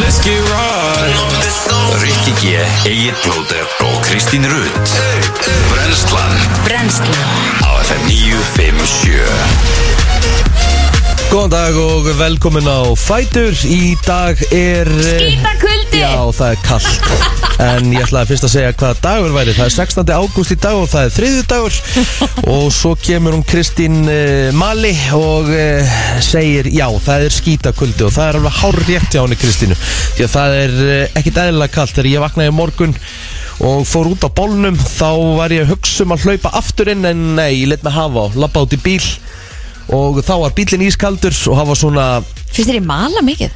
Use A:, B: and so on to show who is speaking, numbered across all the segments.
A: Let's get right
B: Rikki G, Egil Blóter og Kristín Rutt Brenslan
C: Brennslan
B: á FM 957
D: Góðan dag og velkomin á Fætur Í dag er... eh,
C: Skýta kuldi
D: Já, það er kallt En ég ætlaði fyrst að segja hvaða dagur væri Það er 16. ágúst í dag og það er þriðu dagur Og svo kemur hún Kristín uh, Mali og uh, segir Já, það er skítakuldi og það er alveg hár rétt hjá henni Kristínu Því að það er uh, ekkit eðlilega kallt Þegar ég vaknaði í morgun og fór út á bólnum Þá var ég að hugsa um að hlaupa aftur inn En nei, ég let mig hafa og labba út í bíl Og þá var bílinn ískaldur og hafa svona
C: Finnst þér ég mala mikið?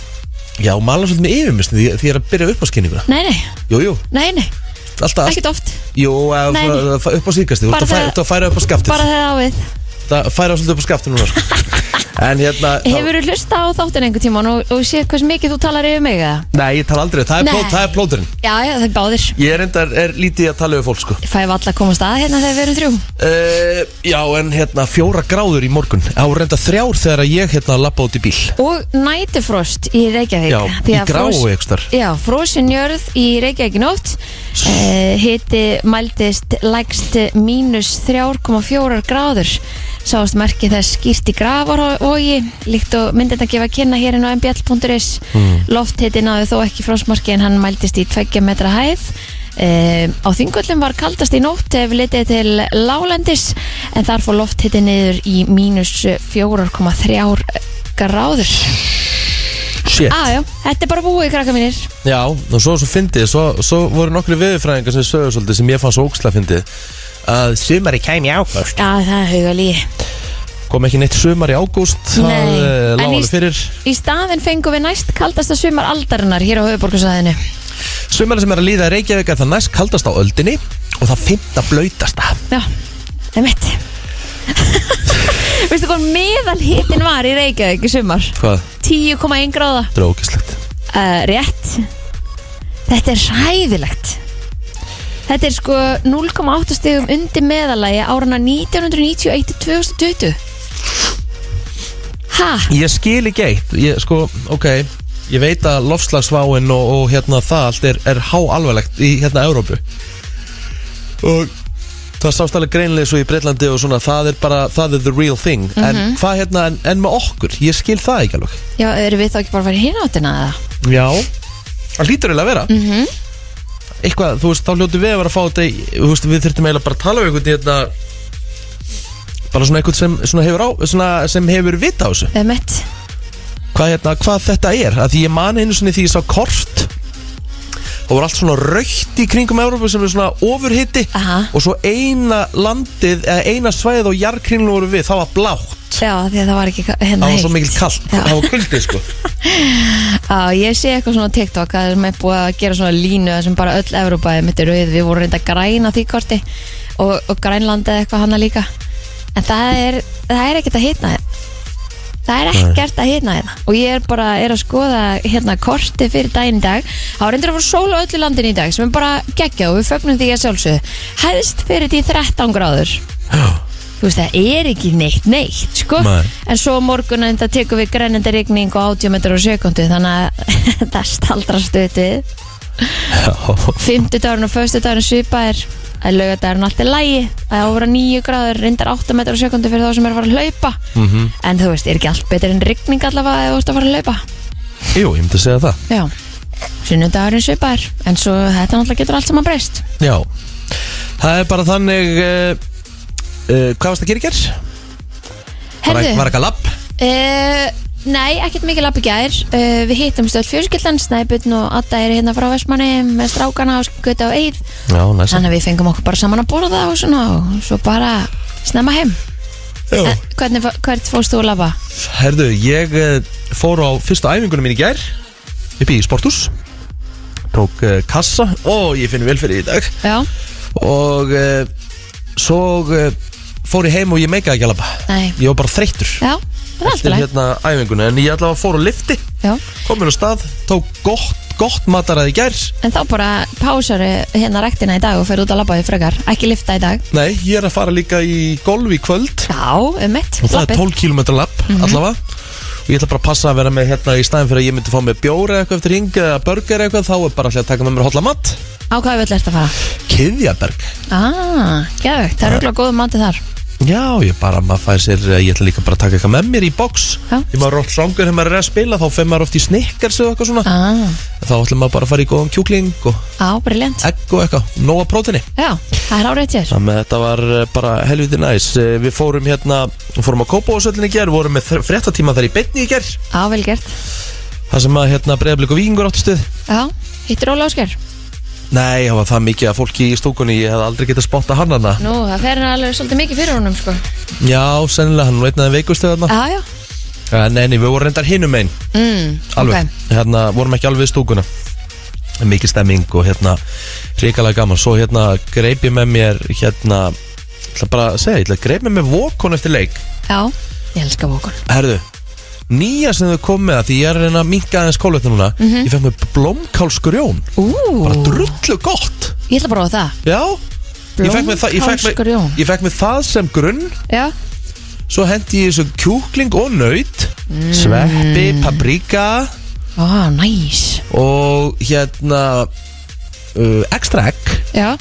D: Já, mala svolítið með yfirmist Því því ég er að byrja upp á skinninguna
C: Nei, nei,
D: Jú, jú,
C: nei, nei,
D: alltaf
C: ekkert oft
D: Jú, ef-
C: Nei, nei.
D: ef- upp á síkasti Þú
C: Bara
D: ert að fæ-
C: þegar-
D: ert að færa upp á skaftið
C: Bara þegar á við
D: Það færa svolítið upp á skaftið núna sko. En hérna þá-
C: Hefur þú hlusta á þáttin einhvern tíman og, og séð hversu mikið þú talar yfir mig eða?
D: Nei, ég tala aldrei, það er,
C: Nei.
D: plót, það er plóturinn
C: Já, já, það er báðir
D: Ég er endar, er lítið í að tala við fólk sko.
C: Ég fæ valla að komast að hérna þegar við erum þrjú
D: uh, Já, en hérna fjóra gráður í morgun Á reynda þrjár þegar ég hérna lappa út í bíl
C: Og nætifrost í Reykjavík
D: Já,
C: Því
D: í
C: að
D: gráu
C: fros-
D: einhvers staðar.
C: Já, frosin jörð í Reykjavík í nótt uh, Hiti mældist lægst mínus 3,4 gráður Sáast merki þess skýrt í gravarvogi Líkt og myndin að gefa að kynna hér inn á mbl.is mm. Lofthiti náðu þó ekki frostmarki en hann mældist í 2 metra hæð Uh, á þingöllum var kaldast í nótt ef litið til lálendis en þar fór lofthiti niður í mínus 4,3 gráður
D: Shit,
C: ah, já, Þetta er bara búið, krakka mínir
D: já, og svo svo fyndið Svo, svo voru nokkri viðurfræðingar sem sögur svolítið Sem ég fann svo óksla fyndið Að sumari kæmi í ágúst
C: Já, það er hauga líi
D: Kom ekki neitt sumar í ágúst Það
C: Nei.
D: uh,
C: En
D: lág
C: í-
D: alveg fyrir
C: Í staðin fengum við næst kaldasta sumar aldarinnar hér á höfuborgarsæðinu
D: Sumari sem er að líða í Reykjavík er það næst kaldast á öldinni og það fymta blautasta.
C: Já, það er mitt Veistu hvað meðal hittin var í Reykjavík í sumar?
D: Hvað?
C: 10,1 gráða
D: Þetta er ógæslegt.
C: uh, Rétt Þetta er ræðilegt Þetta er sko 0,8 stegum undir meðalagi árana 1991-2020 Ha?
D: Ég skil ekki eitt. Ég, sko, ok, ég veit að lofslagsváin og, og hérna það allt er, er háalvarlegt í hérna Európu. Og það sást alveg greinlega svo í Breitlandi og svona, það er bara, það er the real thing. En hvað hérna, en, en með okkur, ég skil það ekki alveg.
C: Já, erum við þá ekki bara að fara í hináttina eða?
D: Já. Það hlýtur eiginlega að vera. Mm -hmm.
C: Mhm.
D: Eitthvað, þú veist, þá hljótu við að vera að fá þetta í, þú veist, við þurftum eiginlega bara að tala um einhvern hérna, bara svona einhvern sem svona hefur á, svona sem hefur vita á þessu.
C: Um mitt
D: Hvað hérna, hvað þetta er, að því ég mani einu svona því ég sá kort, þá var allt svona raukt í kringum Európa sem er svona ofurhitti
C: Aha.
D: og svo eina landið, eða eina svæðið á jarkrinlu voru við, það var blátt.
C: Já, því að það var ekki ka- hérna
D: Það var svo
C: heitt.
D: mikil kallt,
C: Já.
D: það var kuldið sko.
C: Já, ég sé eitthvað svona á TikTok að það er búið að gera svona línu þar sem bara öll Evrópa er mitt er auð, við vorum reynda græn á því korti og, og grænland eða eitthvað hana líka en það er, það er ekkert að hitna þetta Það er ekkert að hitna þetta og ég er bara er að skoða hérna korti fyrir daginn í dag þá reyndir að fór sól á öllu landin í dag sem er bara geggjað og við fögnum því að sjálfsögðu hæðst fyrir því 13 gráður þú veist það er ekki neitt neitt sko
D: Nei.
C: en svo á morgun enda tekum við grænenda rigning og 80 metrar á sekundu þannig að það staldrast við við
D: Já.
C: fymtudagurinn og föstudagurinn svipaðir að laugardagurinn allt er lægi að ára 9 gráður reyndar 8 metrar á sekundu fyrir þá sem er að fara að hlaupa
D: Mhm.
C: -hmm. en þú veist, er ekki allt betur en rigning allavega ef þú ert að fara að hlaupa
D: Jú, ég myndi að segja það.
C: já sunnudagurinn svipaðir en svo þetta náttúrulega getur allt saman breyst
D: Já, það er bara þannig uh, uh, Hvað varst að gera í gerð? Var,
C: Heyrðu.
D: var ekki að lapp?
C: Uh, nei, ekkert mikið lapp í gær uh, Við hittum stöld fjörskildan Snæbjörn og Adda er hérna frá Vestmanni með strákana og gutta og eið
D: Já, næst
C: Þannig að við fengum okkur bara saman að borða og svona og svo bara snemma heim
D: Já.
C: en, hvernig, fó- Hvert fórst þú að labba?
D: Herðu, ég uh, fór á fyrstu æfingunum mín í gerð upp í sportús Tók uh, kassa og ég finn vel fyrir í dag
C: Já,
D: Og uh, svo uh, fór ég heim og ég meikaði ekki að lappa
C: nei,
D: Ég var bara þreyttur
C: já, það er alltaf
D: Eftir
C: leið
D: hérna æfinguna En ég allavega fór á lifti
C: Já,
D: Komin á stað Tók gott, gott mataræði í gerð
C: en þá bara pásaru hérna rektina í dag og fer út að labba því frekar Ekki lifta í dag
D: Nei, ég er að fara líka í golf í kvöld
C: Já, um mitt,
D: og það er 12 km lapp allavega Ég ætla bara að passa að vera með hérna í staðin fyrir að ég myndi fá með bjóra eitthvað eftir hing eða burger eitthvað, þá er bara allir að taka með mér hotla mat
C: Á hvað vill ert að fara?
D: Kiðjaberg
C: Ah, geðvögt, það er rúglega góðum mati þar
D: Já, ég bara, maður fær sér, eh, ég ætla líka bara að taka eitthvað með mér í box
C: Já.
D: Ég maður rótt svangur þegar maður er að spila, þá fer maður oft í snikkars og eitthvað svona
C: Ah,
D: Þá ætlum maður bara að fara í góðan kjúkling og
C: á, briljant
D: egg og eitthvað, nóga prótini
C: Já, það er áreitt hér
D: Þannig að þetta var eh, bara helviti næs Eh, Við fórum hérna, fórum að kópa í gerð, vorum með þre- fréttatíma þar í beinni í gerð
C: Á, vel gert
D: Það sem að hérna breyðablik og vikingur áttu stuð
C: Já, hittir Óla Ásker
D: Nei, það var það mikið að fólki í stúkunni, ég hef aldrei getað spotta hann hana
C: Nú, það fer hann alveg svolítið mikið fyrir honum, sko
D: Já, sennilega, hann var einn af þeim veikustu þarna
C: Ah. Já, já
D: En enni, Eh, við vorum reyndar hinum einn
C: mm,
D: alveg,
C: ok.
D: hérna vorum ekki alveg við stúkuna En mikið stemming og hérna ríkalega gaman, svo hérna greip ég með mér hérna, ætla bara að segja, ég ætla að greip með mér vokon eftir leik,
C: Já, ég elska vokun
D: herðu nýja sem þau kom með það, því ég er að reyna að minka aðeins kólvetni núna,
C: Mhm.
D: ég fekk mér blómkálsgrjón,
C: Ú,
D: bara drullu gott
C: ég ætla að prófa það
D: já, ég fekk mér það ég fekk mér,
C: Blómkálsgrjón.
D: ég fekk mér það sem grunn
C: Já,
D: svo hendi ég þessu kjúkling og nöyt sveppi, paprika
C: ó, næs
D: og hérna uh, extra egg
C: Já,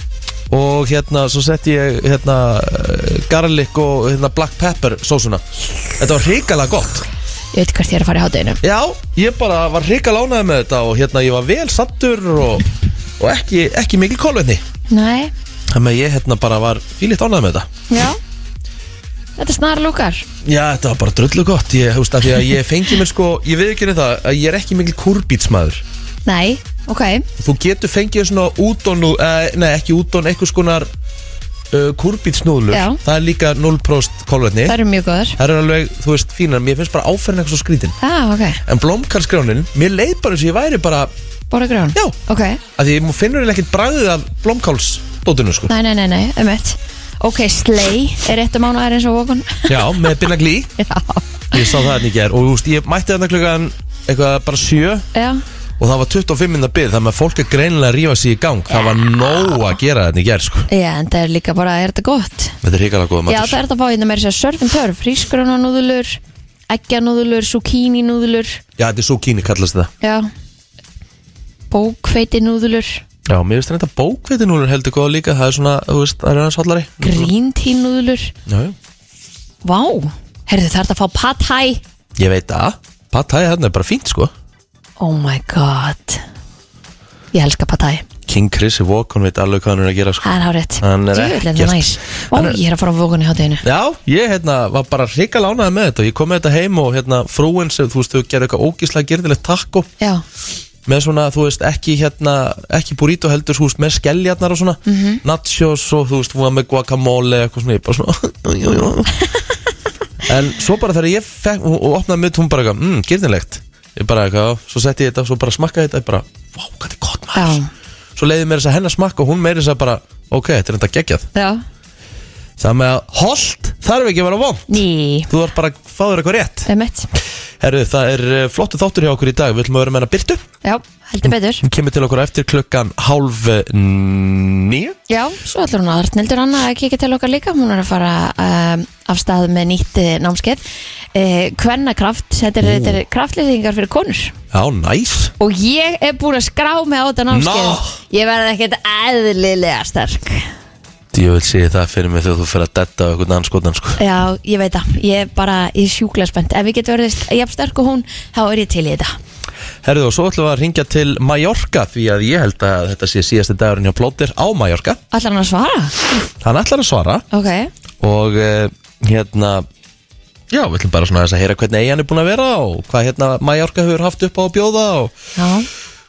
D: og hérna svo setti ég hérna eh, garlic og hérna black pepper sósuna þetta var hrikalega gott
C: ég veit hvert ég er að fara í hátæðinu
D: já, ég bara var hrikalega ánæði með þetta og hérna ég var vel sattur og, og ekki, ekki mikil kólvetni
C: Nei,
D: þannig að ég hérna bara var fílitt ánæði með þetta
C: já Þetta er snar lúkar
D: já, þetta var bara drullu gott ég, húst, af því að ég fengi mér sko, ég veið ekki það að ég er ekki mikil kúrbítsmaður
C: Nei, ok
D: þú getur fengið svona útón uh, nei, ekki útón, einhvers konar uh, kúrbítsnúðlur
C: Já.
D: það er líka 0% kólvetni
C: Það eru mjög góðar
D: Það eru alveg, þú veist, fínar, mér finnst bara áferðin eitthvað svo skrítin
C: ah, ok,
D: En blómkálsgrjónin, mér leið bara eins og ég væri bara
C: bóra grjón
D: Já.
C: Ok,
D: að Því ég finnur eiginlega ekkert bragðið af blómkálsdótinu, sko
C: nei, nei, nei, nei, um Ok, slei er eitt mánu aðeins á vokun
D: Já, með Birna Glí
C: Já,
D: Ég sá það hérna í gerð og þú veist, ég mætti þarna klukkan eitthvað bara sjö
C: já,
D: Og það var 25 minna byrð, þannig að fólk er greinilega að rífa sig í gang Það var nóg að gera þarna í gerð, sko
C: já, en það er líka bara, er þetta gott?
D: Þetta er hrikalega góða
C: Já,
D: matur
C: það er þetta að fá hérna meira sér surfin törf Rísgrunanúðulur, eggjanúðulur, zucchini-núðulur
D: Já, þetta er svo kíni kallast það
C: Já Bókveitinúðulur
D: Já, mér finnst þetta bókveitinúlur heldur góða líka Það er svona, þú veist, það er hans hollari
C: Gríntínúðulur
D: Já, já.
C: Vá, herðu það er þetta að fá pad thai
D: Ég veit að, pattæði þarna er bara fínt, sko
C: Oh my god Ég elska pad thai
D: King Chris í Walkon veit alveg hvað hann er að gera sko.
C: Það er hárétt
D: Hann er
C: það
D: ekkert-
C: næs Ó,
D: hann er-
C: ég er að fara á vokun í hátteginu
D: Já, ég hérna, var bara hrika lánaði með þetta og ég kom með þetta heim og hérna, frúin sem þú veist, þau gerðu eitthvað ógíslega gerðilegt takko
C: Já,
D: með svona, þú veist, ekki hérna ekki burrito heldur, þú veist, með skelljarnar og svona, nachos og þú veist hún var með guacamole eitthvað svona, ég bara svona jú, jú. en svo bara þegar ég fekk, og, og opnaði mitt, hún bara eitthvað, mm, gerðilegt, ég bara eitthvað "Já." svo setti ég þetta, svo bara smakkaði þetta, ég bara vá, hvað þetta er gott maður,
C: Já.
D: svo leiði mér þess að hennar smakka og hún meiri þess að bara, ok, þetta er þetta geggjað
C: já
D: Það með að hold þarf ekki að vera von
C: Ný,
D: Þú þarf bara að fá þér eitthvað rétt
C: um eitt
D: Herru, það er eh, flottu þáttur hjá okkur í dag Við ætlum að vera með hana Byrtu
C: Já, heldur betur
D: Hún kemur til okkur eftir klukkan hálf eh, níu
C: Já, svo ætlur hún að Arnildur Anna að kíkja til okkar líka Hún er að fara um, af stað með nýtt eh, námskeið eh, Kvennakraft, þetta er, þetta er kraftlýðingar fyrir konur
D: Já, næs
C: Og ég er búin að skrá mig á þetta námskeið
D: Ná.
C: Ég verði ekkert eðlilega sterk
D: Ég vil segja það fyrir mig þegar þú fer að detta á einhvern anskotan sko.
C: Já, ég veit það, ég er bara í sjúklega spennt Ef ég get verið jafn sterk og hún, þá er ég til í þetta
D: Herru, og svo ætlum við að ringja til Mallorca Því að ég held að þetta sé síðasti dagurinn hjá Plóter á Mallorca
C: Ætlar hann að svara?
D: Hann ætlar að svara
C: Ok,
D: Og eh, hérna Já, við ætlum bara svona aðeins að heyra hvernig eigin er búin að vera og hvað hérna Mallorca hefur haft upp á að bjóða og
C: já,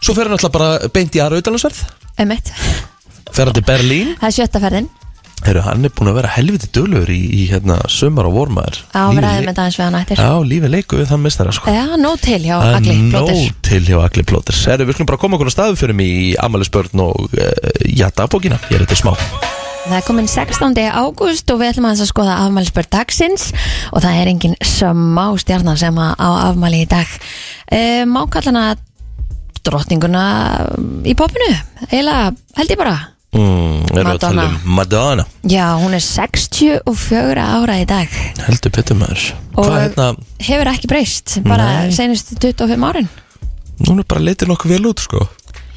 D: Svo fer hann alltaf bara beint í aðra auðvitaðlansverð
C: um eitt
D: Fer hann til Berlín
C: Það er sjötta ferðin
D: Heru, Hann er búin að vera helviti dölur í, í hérna, sumar og vormaður
C: Já, við ræðum þetta aðeins við hann eftir
D: Já, lífið leiku við þann mistara sko
C: Já, nóg til hjá
D: Það er
C: Agli
D: nóg
C: Blóttir
D: til hjá Agli Plóters Heru, Við skulum bara koma okkur á staðu fyrir mig í Amalisbörn og uh, Jadabókina Ég er þetta smá
C: Það er komin 16. ágúst og við ætlum aðeins að skoða afmælisbörn dagsins og það er engin smá stjarnar sem að- á afmæli í dag. E, má kalla hana drottninguna í popinu, eiginlega held ég bara.
D: mm, erum við að tala
C: Madonna.
D: um Madonna
C: Já, hún er 64 ára í dag
D: Heldur betur maður
C: og
D: Hvað hérna,
C: hefur ekki breyst bara
D: Nei.
C: senustu 25 árin
D: hún er bara litur nokkuð vel út sko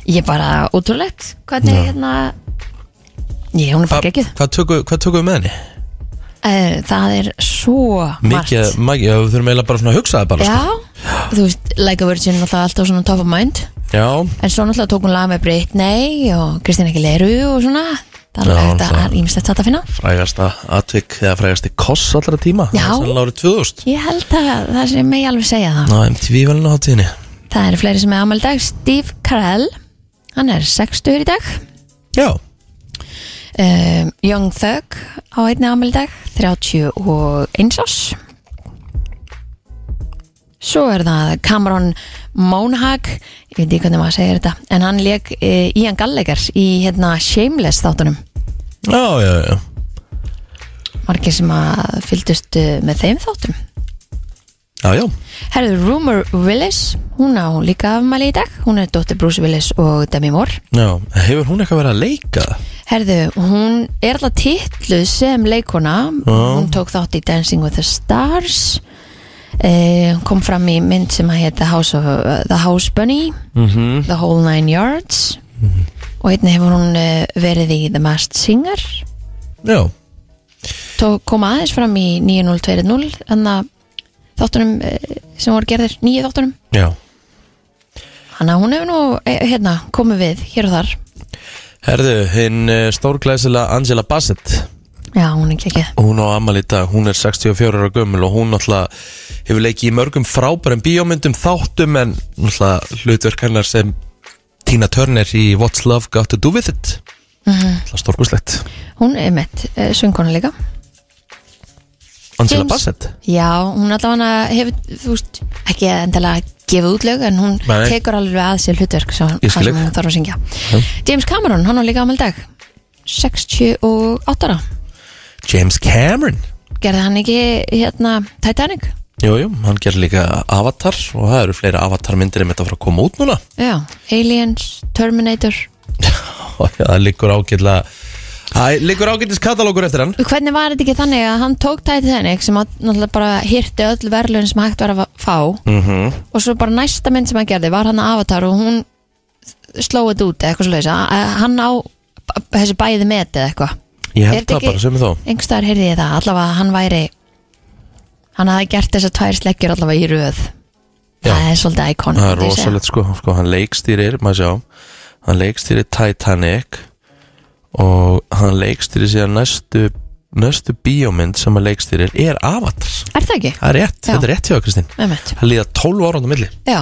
C: Ég er bara ótrúlegt hvernig
D: Já.
C: hérna Ég, hún er
D: Hva-
C: bara geggjuð
D: Hvað tökum hvað tökum við með henni?
C: Eh, Það er svo margt
D: Mikið, mikið, já, við þurfum eiginlega bara svona að hugsa það bara sko.
C: Já, þú veist, Like a Virgin er náttúrulega alltaf svona top of mind
D: sko. Já,
C: En svo náttúrulega tók hún lag með Britney og Kristina Aguilera og svona Það
D: Já,
C: er hægt
D: náttúrulega.
C: að ímestætt þetta að finna
D: frægasta atvik eða frægasti koss allra tíma
C: Já.
D: Það er sennilega árið 2000
C: Ég held að það sem ég alveg segja það
D: Ná, MTV velinu hátíðinni
C: Það eru fleiri sem er ámæli dag Steve Carell, hann er 60 í dag
D: Já,
C: um, Young Thug á einni ámæli dag 31 ás Svo er það Cameron Monaghan ég veit ekki hvernig maður segir þetta en hann leik uh, Ian Gallagher í hérna Shameless þáttunum
D: já, já, já
C: margir sem að fylgdust eh, með þeim þáttum
D: Já, já,
C: Herðu Rumor Willis hún á líka afmæli í dag hún er dóttir Bruce Willis og Demi Moore
D: já Hefur hún eitthvað verið að leika?
C: Herðu, hún er alltaf titluð sem leikona Hún tók þátt í Dancing with the Stars eh, Hún kom fram í mynd sem að heita House of, eh, The House Bunny -hmm. The Whole Nine Yards Og einnig hefur hún eh, verið í The Masked Singer
D: Já,
C: Tók kom aðeins fram í 9020 Þannig að þáttunum eh, sem voru gerðir, nýju þáttunum
D: já
C: Þannig að hún hefur nú eh, hérna, komið við hér og þar
D: Herðu, hinn eh, stórglæsilega Angela Bassett
C: Já, hún er ekki ekki
D: Hún á amal í dag, hún er 64 ára gömul og hún náttúrulega hefur leikið í mörgum frábærum bíómyndum þáttum en náttúrulega hlutverk hennar sem Tina Turner í What's Love Got To Do With It
C: Mhm.
D: Náttúrulega stórkuslegt
C: Hún er mitt eh, söngkona líka
D: Angela
C: James-
D: Bassett
C: Já, hún allavega hefur, þú veist, ekki endilega gefið útlög en hún
D: Nei.
C: tekur alveg að sér hlutverk sem,
D: Ég
C: hvað
D: skil
C: sem
D: þig.
C: hún þarf að syngja James Cameron, hann á líka ámæli dag 68 ára
D: James Cameron
C: gerði hann ekki hérna Titanic
D: Jú, jú, hann gerir líka Avatar og það eru fleiri Avatar-myndir um þetta frá að koma út núna
C: Já, Aliens, Terminator
D: og það liggur ágætlega Það liggur ágætis katalógur eftir hann
C: Hvernig var þetta ekki þannig að hann tók Titanic sem að náttúrulega bara hirti öll verðlun sem hægt var að fá
D: Mhm.
C: og svo bara næsta mynd sem hann gerði var hann Avatar og hún slóið þetta út eða eitthvað svo leisa hann á b- þessi bæði met eða eitthvað
D: Ég
C: Er
D: held
C: þetta
D: það
C: ekki-
D: bara sem þó
C: einhverstaðar heyrði ég það, allavega hann væri hann hafði gert þess að tvær sleggjur allavega í röð
D: Já.
C: það er svolítið íkon
D: Það er rosalegt sko, sko hann leikstýrir, maður sjá hann leikstýrir Titanic og hann leikstýrir síðan næstu, næstu bíómynd sem hann leikstýrir er Avatar
C: er það ekki?
D: Það er rétt,
C: Já.
D: þetta er rétt hjá Kristín
C: Einmitt.
D: Það líða 12 ára á milli
C: Já.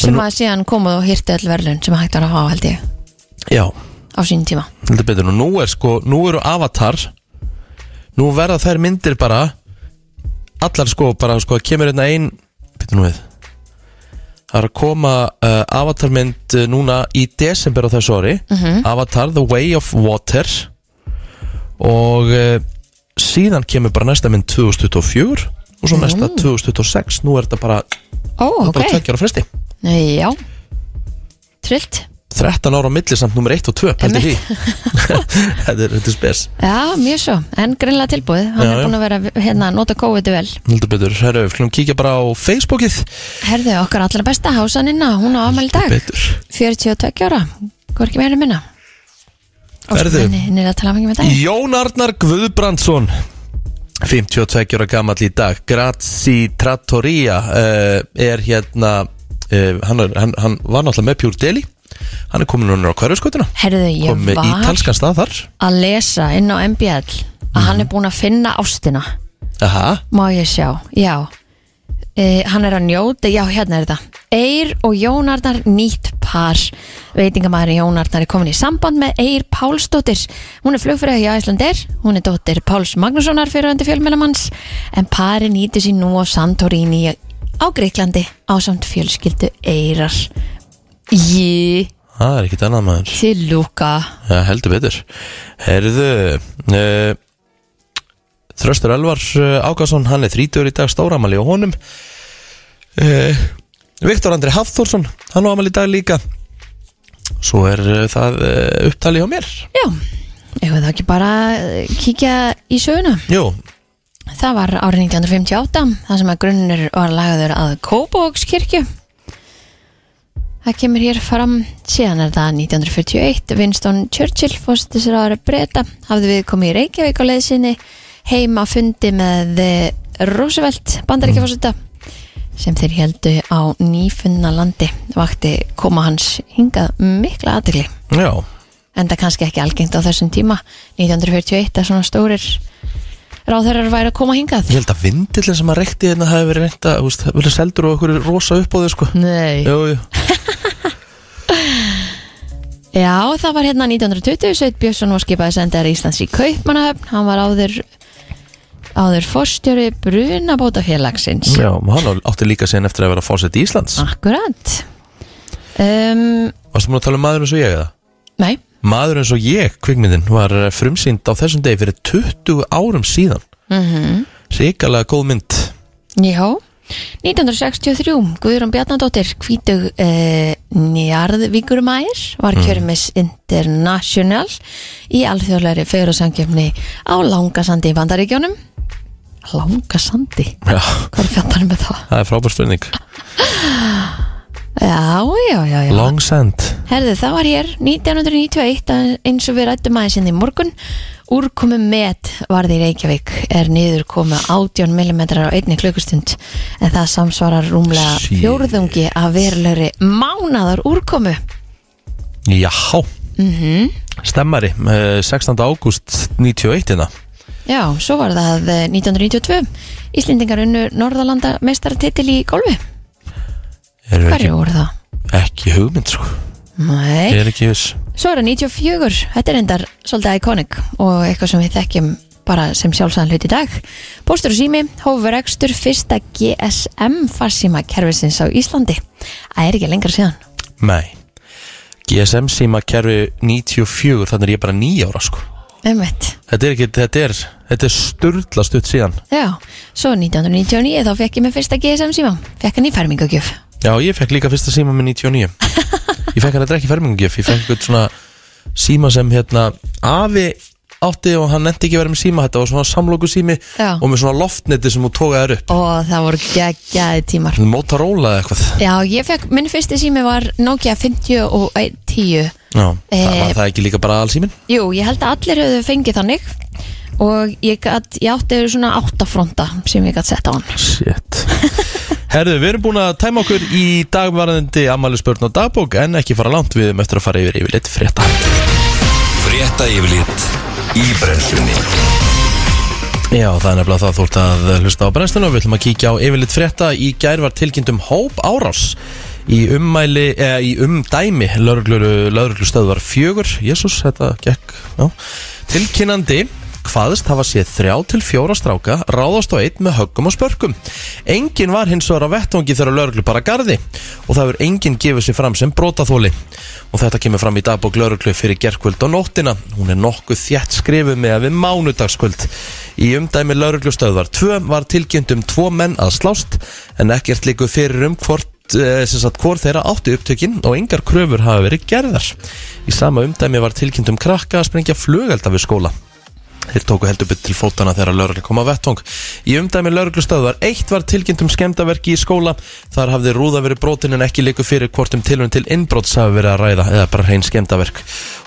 C: sem að síðan komuð og hirti öll verðlun sem hægt var að hafa held ég
D: Já,
C: á sín tíma
D: heldur betur og nú er sko, nú eru Avatar nú verða þær myndir bara allar sko, bara sko kemur hérna ein, betur nú við Það er að koma uh, avatarmynd uh, núna í desember á þessu ári
C: Mhm.
D: Avatar The Way of Water og uh, síðan kemur bara næsta mynd 2024 og svo næsta 2026 nú er þetta bara,
C: ó Mm. ok,
D: bara tveggjar á fresti
C: já trillt,
D: 13 ára á milli samt nummer 1 og 2 pældi því
C: Einmitt.
D: Þetta er, þetta er spes
C: já mjög svo en grinnlega tilbúið, hann
D: Já,
C: er
D: já.
C: búin að vera hérna að nota kóðið vel
D: Heldur betur, herru, við skulum kíkja bara á Facebookið
C: herðu okkar allra besta hásaninna, hún á afmæli í dag
D: Betur
C: 42 ára, hvað er ekki meira minna?
D: Verðu.
C: Henni er að tala um fengið með dag
D: Jón Arnar Guðbrandsson 52 ára gamall í dag Grazi Trattoria uh, er hérna uh, hann, er, hann, hann var náttúrulega með Pure Deli hann er komin núna á hverjuskotuna
C: Herðu, ég
D: komið í
C: var
D: talskan stað þar
C: að lesa inn á MBL að
D: Mhm.
C: hann er búinn að finna ástina
D: Aha,
C: Má ég sjá, já e, Hann er að njóta, já hérna er þetta Eir og Jónarnar nýtt par Veitingamæður Jónarnar er komin í samband með Eir Pálsdóttir Hún er flugfyrir hjá Íslandir Hún er dóttir Páls Magnússonar fyrirandi fjölmjölamanns En pari nýtu sín nú á Santorini á Greiklandi á samt fjölskyldu Eirar Jé,
D: það er ekkit annað maður
C: til lúka
D: ja, Heldur betur Herðu uh, Þröstur Elvar eh, Ákason hann er 30 í dag stóramali og honum Eh, uh, Viktor Andri Hafþórsson hann á amali í dag líka Svo er uh, það uh, upptalið hjá mér
C: Já, ég veit ekki bara eh, kíkja í söguna
D: Jú,
C: Það var árið 1958 það sem að grunnur var lagður að Kópavogskirkju Það kemur hér fram síðan er það 1941 Winston Churchill fórstisir ára breyta hafði við komið í Reykjavík á leiðsynni heima fundi með eh, Roosevelt bandaríkjafórsita sem þeir heldu á nýfunna landi vakti koma hans hingað mikla aðtegli
D: já,
C: en það kannski ekki algengt á þessum tíma 1941 að svona stórir ráðherrar væri að koma hingað
D: ég held að vindillin sem að reykti hérna það hefur verið reynda, þú veist, vilja seldur og okkur rosa upp á þau sko
C: Nei
D: Jú, jú,
C: Já, það var hérna 1920 Sveit Björnsson var skipaði sendar Íslands í Kaupmannahöfn hann var áður áður forstjóri brunabótafélagsins
D: já, hann átti líka síðan eftir að vera fórsett í Íslands
C: Akkurat um,
D: Varstu múin að tala um maður eins og ég eða?
C: Nei,
D: Maður eins og ég, kvikmyndin, var eh, frumsýnd á þessum degi fyrir 20 árum síðan mm -hmm. Ríkalega góð mynd
C: já 1963, Guðrún Bjarnadóttir hvítug uh, njarðvíkurmæður var kjörmis International í alþjóðlegri fegurðsangjöfni á Langasandi í Bandaríkjónum Langasandi?
D: Já,
C: Hvað er fjandarinn með um það?
D: það er frábær spurning
C: Já, já, já, já.
D: Long Sand
C: Herðu, það var hér 1991 að- eins og við rættum aðeins inn í morgun Úrkomi met varði í Reykjavík er niður komið 18 mm á einni klukkustund en það samsvarar rúmlega
D: Shit.
C: fjórðungi af verulegri mánaðar úrkomu
D: Jáhá Stemmari, eh, 16. ágúst 91 hérna.
C: Já, svo var það eh, 1992 Íslendingar unnu Norðalanda mestartitil í golfi
D: Erum við ekki,
C: Hverju voru það?
D: ekki hugmynd sko
C: Nei
D: Ég er ekki viss
C: Svo er það 94, þetta er endar svolítið iconic og eitthvað sem við þekkjum bara sem sjálfsæðan hlut í dag. Póstur og sími, hófur ekstur fyrsta GSM farsíma kerfisins á Íslandi. Það er ekki lengra síðan.
D: Nei GSM síma kerfi 94 Þannig er ég bara 9 ára sko
C: Umveitt.
D: Þetta er ekki, þetta er, þetta er sturla stutt síðan
C: Já, svo 1999 þá fekk ég mér fyrsta GSM síma. Fekk hann í fermingagjöf.
D: Já, ég fekk líka fyrsta síma með 99 Ég fekk hann að drekki fermingugjöf Ég fekk eitthvað svona síma sem hérna Afi átti og hann endi ekki að vera með síma Þetta var svona samlóku sími
C: Já.
D: Og með svona loftneti sem hún tókaði upp
C: Og það voru geggjaði tímar.
D: Motorola eða eitthvað
C: Já, ég fekk, minn fyrsti sími var Nokia 50 og 10.
D: Já, það
C: Eh,
D: var það ekki líka bara allsýmin
C: Jú, ég held að allir höfðu fengið þannig og ég, gat, ég átti svona áttafronta sem ég gætt sett á hann.
D: Shit Herðu, við erum búin að tæma okkur í dagvarðandi ammælisbörn og dagbók en ekki fara langt við um eftir að fara yfir yfirleitt frétta
B: Frétta yfirlit í brennslunni
D: Já, það er nefnilega það þú ert að hlusta á brennslunum Við ætlum að kíkja á yfirleitt frétta Í gær var tilkynnt um hóp árás Í ummæli, eða í umdæmi Lörgluru stöðvar fjögur Jésús, þetta gekk já. Tilkynnandi hvaðist hafa séð þrjá til fjóra stráka ráðast á eitt með höggum og spörkum Engin var hins vegar á vettvangi þegar lörglu bara garði og það hefur enginn gefið sér fram sem brotaþóli og þetta kemur fram í dagbók lörglu fyrir gerkvöld og nóttina hún er nokkuð þjætt skrifuð með að við mánudagskvöld í umdæmi lörglu stöðvar 2 var tilkynnt um tvo menn að slást en ekkert líku fyrir um hvort eh, sem sagt hvort þeirra átti upptökin og engar kröfur hafa verið gerðar í sama umdæmi var tilkynnt um krakka að sprengja flugelda við skóla Þeir tóku heldur bytt til fótana þegar lauruglu kom á vettvang. Í umdæmi lauruglustöðvar eitt var tilkynnt um skemdaverki í skóla. Þar hafði rúða verið brotin en ekki líku fyrir hvort um tilhund til innbrots hafi verið að ræða eða bara hrein skemdaverk.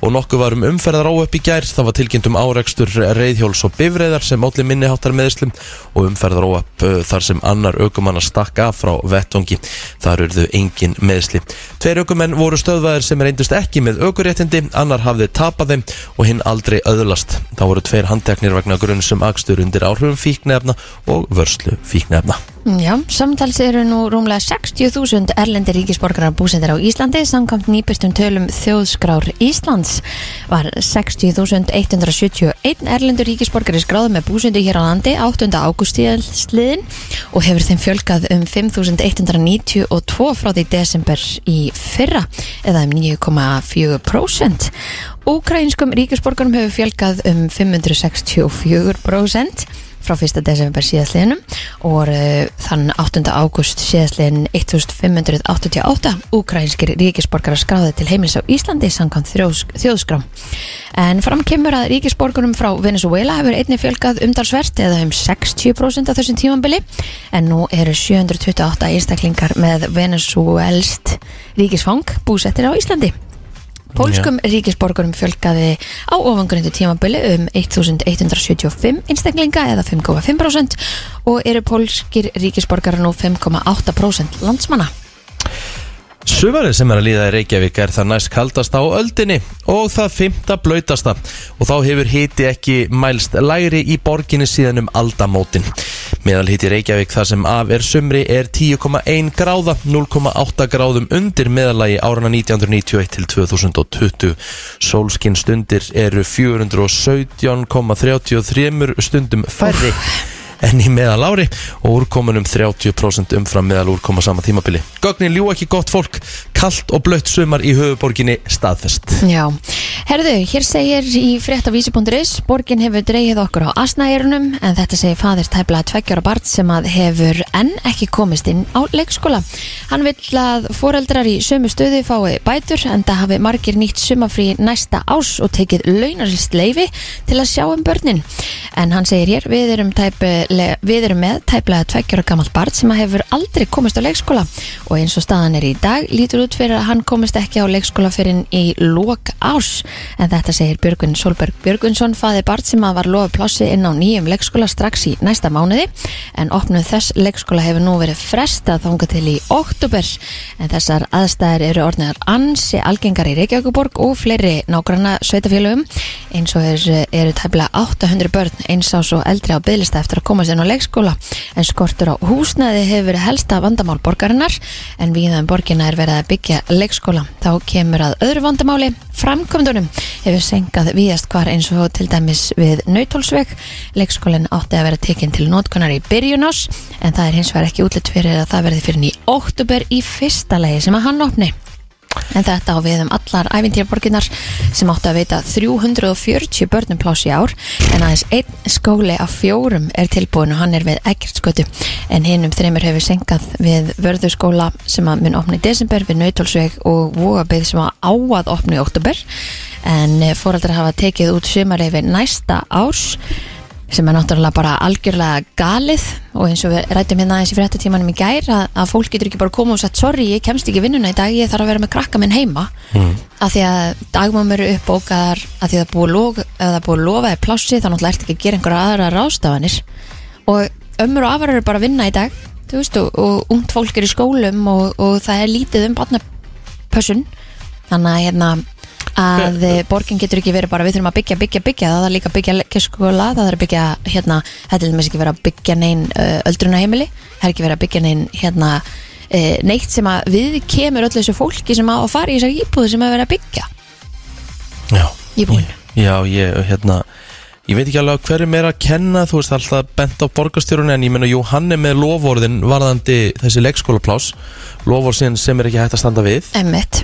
D: Og nokkuð var um umferðar óöpp í gær. Það var tilkynnt um árekstur reyðhjóls og bifreiðar sem allir minniháttar meðslum og umferðar óöpp þar sem annar aukumanna stakka frá vettvangi. Þar urðu engin meðsli. Tveir aukumenn voru stöðvaðir sem reyndust ekki með aukuréttindi, annar hafði tapað þeim og hinn aldrei öðlast. Þá voru tveir handteknir vegna grunn sem akstur undir áhrifum fíknefna og vörslu fíknefna.
C: Já, samtals eru nú rúmlega 60.000 erlendir ríkisborgarar búsendir á Íslandi samkvæmt nýbyrtum tölum þjóðskrár Íslands var 60.171 erlendur ríkisborgari skráði með búsendu hér á landi 8. águstíðsliðin og hefur þeim fjölgað um 5.192 frá því desember í fyrra eða um 9,4% Úkrainskum ríkisborgarum hefur fjölgað um 564% frá 1. desember síðastliðinum og uh, þann 8. ágúst síðastliðin 1588 ukrainskir ríkisborgarar skráði til heimilis á Íslandi samkvæmt þrjós- þjóðskrá. En fram kemur að ríkisborgunum frá Venezuela hefur einni fjölgað umdalsvert eða um 60% af þessum tímambili en nú eru 728 einstaklingar með venezuelst ríkisfang búsettir á Íslandi. Pólskum ríkisborgurum fjölgaði á ofangröndu tímabili um 1175 einstaklinga eða 5,5% og eru pólskir ríkisborgarar nú 5,8% landsmanna.
D: Sumarið sem er að líða í Reykjavík er það næst kaldasta á öldinni og það fymta blöytasta og þá hefur hiti ekki mælst lægri í borginni síðan um aldamótin. Meðal hiti í Reykjavík það sem af er sumri er 10,1 gráða, 0,8 gráðum undir meðalagi árana 1991 til 2020. Sólskinn stundir eru 417,33 stundum færri enn í meðal ári og úrkomunum 30% umfram meðal úrkoma sama tímabili. Gögnin ljúa ekki gott fólk, kallt og blött sumar í höfuborginni staðfest.
C: Já, herðu, hér segir í fréttavísi.is, borgin hefur dreigið okkur á asnaeirunum en þetta segir fadir tæpla tveggjara barn sem að hefur enn ekki komist inn á leikskóla. Hann vill að foreldrar í sömu stöðu fái bætur en það hafi margir nýtt sumafrí næsta ás og tekið launarist leifi til að sjá um börnin. En hann segir hér, við erum, tæpi, við erum með tæpla tveggjara gamalt barn sem að hefur aldrei komist á leikskóla og eins og staðan er í dag lítur út fyrir að hann komist ekki á leikskóla fyrir í lok ás en þetta segir Björgun Solberg Björgunsson faði Bart sem að var lofa plássi inn á nýjum leikskóla strax í næsta mánuði en opnuð þess leikskóla hefur nú verið frestað þangað til í oktober en þessar aðstæðir eru orðnar ansi algengar í Reykjavíkuborg og fleiri nágranna sveitafélögum eins og er, eru tæplega 800 börn eins ás og eldri á bygglista eftir að komast inn á leikskóla en skortur á húsnæði hefur verið helsta vandamál borgarinnar en viðan borgina er verið að byggja leikskóla. Þá kemur að öðru vandamáli, framkomdunum hefur senkað víðast hvar eins og til dæmis við Nautólsveg. Leikskólinn átti að vera tekinn til nótkunar í byrjun ás en það er hins vegar ekki útlitt fyrir að það verði fyrir í óttúber í fyrsta legi sem að hann opni. En þetta á við um allar æfintýraborginnar sem áttu að veita 340 börnum pláss í ár en aðeins einn skóli af fjórum er tilbúin og hann er við Eggertskötu en hinnum þreymur hefur senkað við vörðuskóla sem að mun opna í desember við Nautolsveg og Vóabið sem að á að opna í oktober en fóraldrar hafa tekið út sumareyfi næsta árs sem er náttúrulega bara algjörlega galið og eins og við rættum hérna aðeins í fréttatímanum í gær að, að fólk getur ekki bara koma og sagt sorry, ég kemst ekki í vinnuna í dag, ég þarf að vera með krakka minn heima mm. að því að dagmum eru uppbókaðar að því að það er búið að log- ef það er búið að lofa eða plássi þá náttúrulega ertu ekki að gera einhverja aðra rástafanir og ömmur og afar eru bara að vinna í dag þú veist, og, og ungt fólk er í skólum og, og það er lítið um barnapössun þannig að hérna að eh, borgin getur ekki verið bara við þurfum að byggja, byggja, byggja það er líka að byggja leikskóla, það er að byggja hérna, þetta er til dæmis ekki verið að byggja neinn uh, öldrunaheimili, það er ekki verið að byggja neinn hérna, uh, neitt sem að við kemur öllu þessu fólki sem á að fara í þessar íbúðu sem að vera að byggja
D: Já.
C: Íbúin.
D: Já, ég, hérna, ég veit ekki alveg hverjum er að kenna, þú veist, það er alltaf bent á borgarstjórun en ég menna, jú, hann er með lofórðin varðandi þessi leikskólaplás, lofórðin sem er ekki hægt að standa við,
C: emmitt,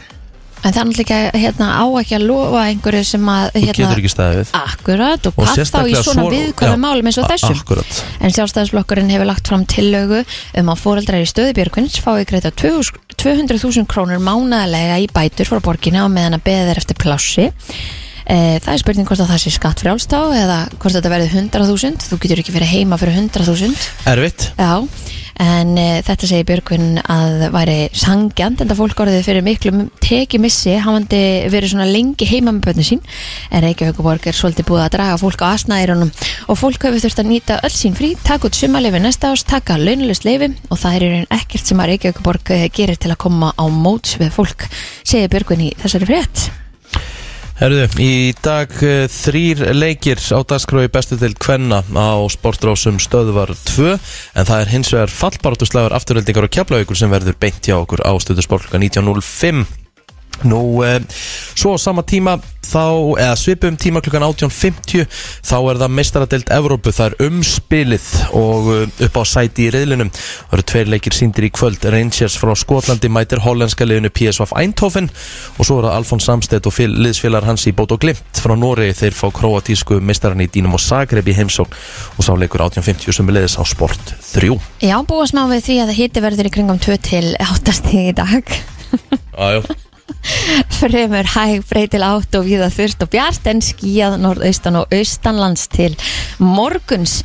C: en það er náttúrulega ekki, hérna, á ekki að lofa einhverju sem að
D: þú getur
C: hérna,
D: ekki staðið við.
C: akkurat og hvað þá í svona viðkvæða málum eins og þessum
D: Akkurat.
C: en sjálfstæðisflokkurinn hefur lagt fram tillögu um að fóreldrar í stöðubjörgunns fái greita 200.000 krónur mánaðlega í bætur frá borginni á meðan að beða þeir eftir plássi Eh, Það er spurning hvort að það sé skatt frjálstá eða hvort þetta verði 100.000 þú getur ekki verið heima fyrir 100.000
D: Erfitt.
C: Já, en uh, þetta segir Björgvin að væri sangjant en það fólk orðið fyrir miklu tekimissi hafandi verið svona lengi heima með börnum sín en Reykjavíkuborg er svolítið búið að draga fólk á asnaðirunum og fólk hefur þurft að nýta öll sín frí taka út sumarleifi næsta ás, taka launalust leifi og það er í raun ekkert sem að Reykjavíkuborg eh, gerir til að koma á móts við fólk segir Björgvin í þessari frétt
D: Herðu, í dag uh, þrýr leikir á dagskrái bestu til kvenna á sportrásum stöðvar 2 en það er hins vegar fallbartuslegar afturöldingar og keflaugur sem verður beint hjá okkur á stöðu sportluka 19.05 Nú, eh, svo á sama tíma þá, eða svipum tíma klukkan 18.50 þá er það meistaradelt Evrópu, það er umspilið og eh, upp á sæti í reyðlinum það eru tveir leikir síndir í kvöld Rangers frá Skotlandi mætir hollenska liðinu PSV Eindhoven og svo er það Alfons Samstedt og fyl, liðsfélagar hans í Bót og Glimt frá Noregi þeir fá kroatísku meistaran í Dínum og Zagreb í heimsókn og sá leikur 18.50 sem er leiðis á Sport 3
C: Já, búast má við því að hiti verður í kringum 2 til 8 stig í dag
D: Ajú
C: Fremur hæg breytil átt og viða þurft og bjart en skíjað norðaustan og austanlands til morguns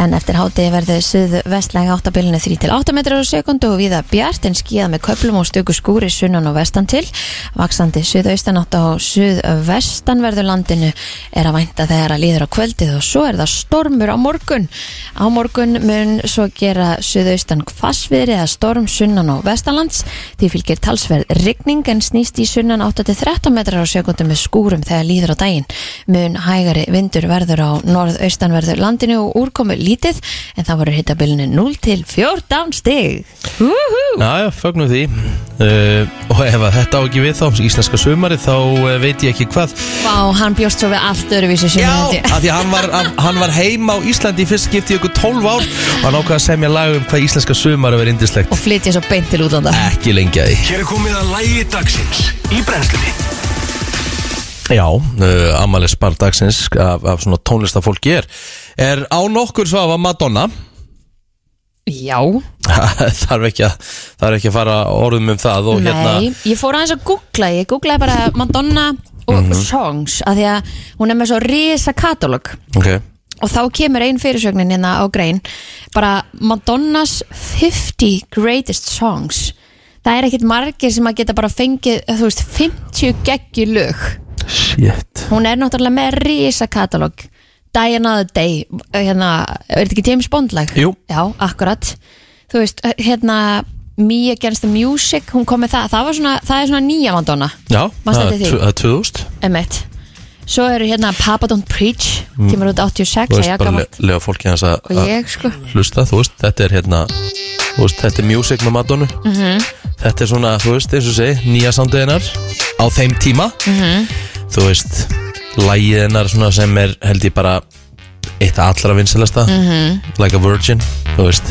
C: en eftir hátegi verður suð vestlæg áttabillinu 3 til 8 metrar á sekundu og viða bjart en skíjað með köplum og stöku skúri sunnan og vestan til vaksandi suðaustan átt og suðvestan verður landinu er að vænta þegar að líður á kvöldið og svo er það stormur á morgun á morgun mun svo gera suðaustan hvassviðri eða storm sunnan og vestanlands því fylgir talsverð rigning en snýst í sunnan 8-13 metrar á sekundum með skúrum þegar líður á daginn mun hægari vindur verður á norðaustanverður landinu og úrkomi lítið en það voru hittabilinu 0-14 stig Úhú!
D: Næja, fögnum því uh, Og ef að þetta á ekki við þá Íslenska sumari þá uh, veit ég ekki hvað
C: Vá, hann bjóst svo við allt öðruvísi sem
D: Já, af því að hann var, hann, hann var heima á Íslandi í fyrst skipti í ykkur 12 ár og hann ákvað að semja lag um hvað íslenska sumari verið indislegt
C: og flytja svo beint til útlanda
D: Ekki lengi að því
B: Hér er komið að lægi dagsins í brennslunni
D: Já, uh, Amalie Spar dagsins af, af svona tónlistafólki er Er á nokkur svo af Madonna
C: Já,
D: Þarf ekki að Þarf ekki að fara orðum um það og
C: Nei,
D: hérna
C: ég fór aðeins að googla Ég googlaði bara Madonna og
D: Mhm.
C: songs að Því að hún er með svo risa katalog
D: Ok,
C: Og þá kemur ein fyrirsögnin hérna á grein Bara Madonnas 50 greatest songs Það er ekkit margir sem að geta bara fengið Þú veist, 50 geggi lög
D: shit
C: Hún er náttúrulega með risa katalog Diana the Day hérna, Er þetta ekki James Bond lag?
D: Jú.
C: Já, akkurat Þú veist, hérna Me Against the Music, hún kom með það Það, var svona, það er svona nýja Madonna
D: Já,
C: Manstu
D: það
C: eftir því?
D: er 2000
C: Emmett Svo eru hérna Papa Don't Preach kemur út
D: Mm.
C: 86
D: Þú veist
C: það
D: Ah.
C: er
D: bara
C: gaman.
D: le- lega fólki hans að
C: og
D: að-
C: ég sko
D: hlusta, þú veist, þetta er hérna þú veist, þetta er music með Madonna þetta er svona, þú veist, eins og segi nýja samtöðinar á þeim tíma þú veist lægið hennar svona sem er held ég bara eitt allra vinsalasta like a virgin, þú veist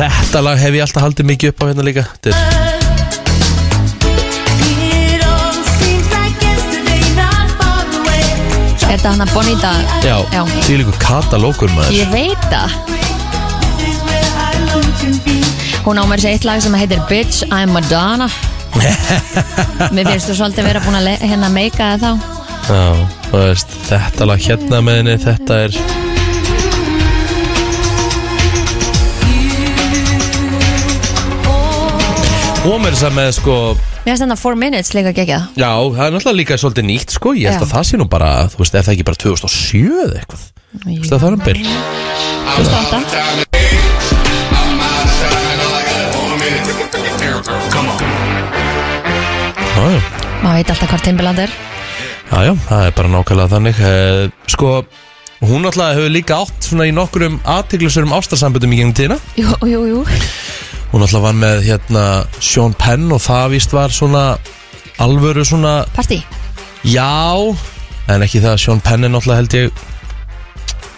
D: þetta lag hef ég alltaf haldið mikið upp á hérna líka þetta er
C: er þetta hann að Bonita
D: Já,
C: Já.
D: því líku katalókur maður
C: ég veit það hún á mér sér eitt lag sem heitir Bitch I'm Madonna mér finnst þú svolítið vera búin að le- hérna meika það þá
D: Já, þú veist, þetta lag hérna með henni, þetta er Og mér þess að með sko
C: mér finnst þetta 4 minutes líka geggjað
D: Já, það er náttúrulega líka svolítið nýtt sko Ég held
C: Já.
D: að það sé nú bara, þú veist, ef það ekki bara 2007 eða eitthvað Þú
C: Jú.
D: veist að það er um bil
C: Fyrsta átta.
D: Já, já,
C: maður veit alltaf hvað Timberland er
D: já, já, það er bara nákvæmlega þannig Eh, Sko, hún náttúrulega hefur líka átt svona í nokkrum aðtiklisurum ástarsamböndum í gengum tíðina
C: jú, jú, jú
D: Hún alltaf var með hérna Sean Penn og það víst var svona alvöru svona
C: partí
D: já en ekki það að Sean Penn er náttúrulega held ég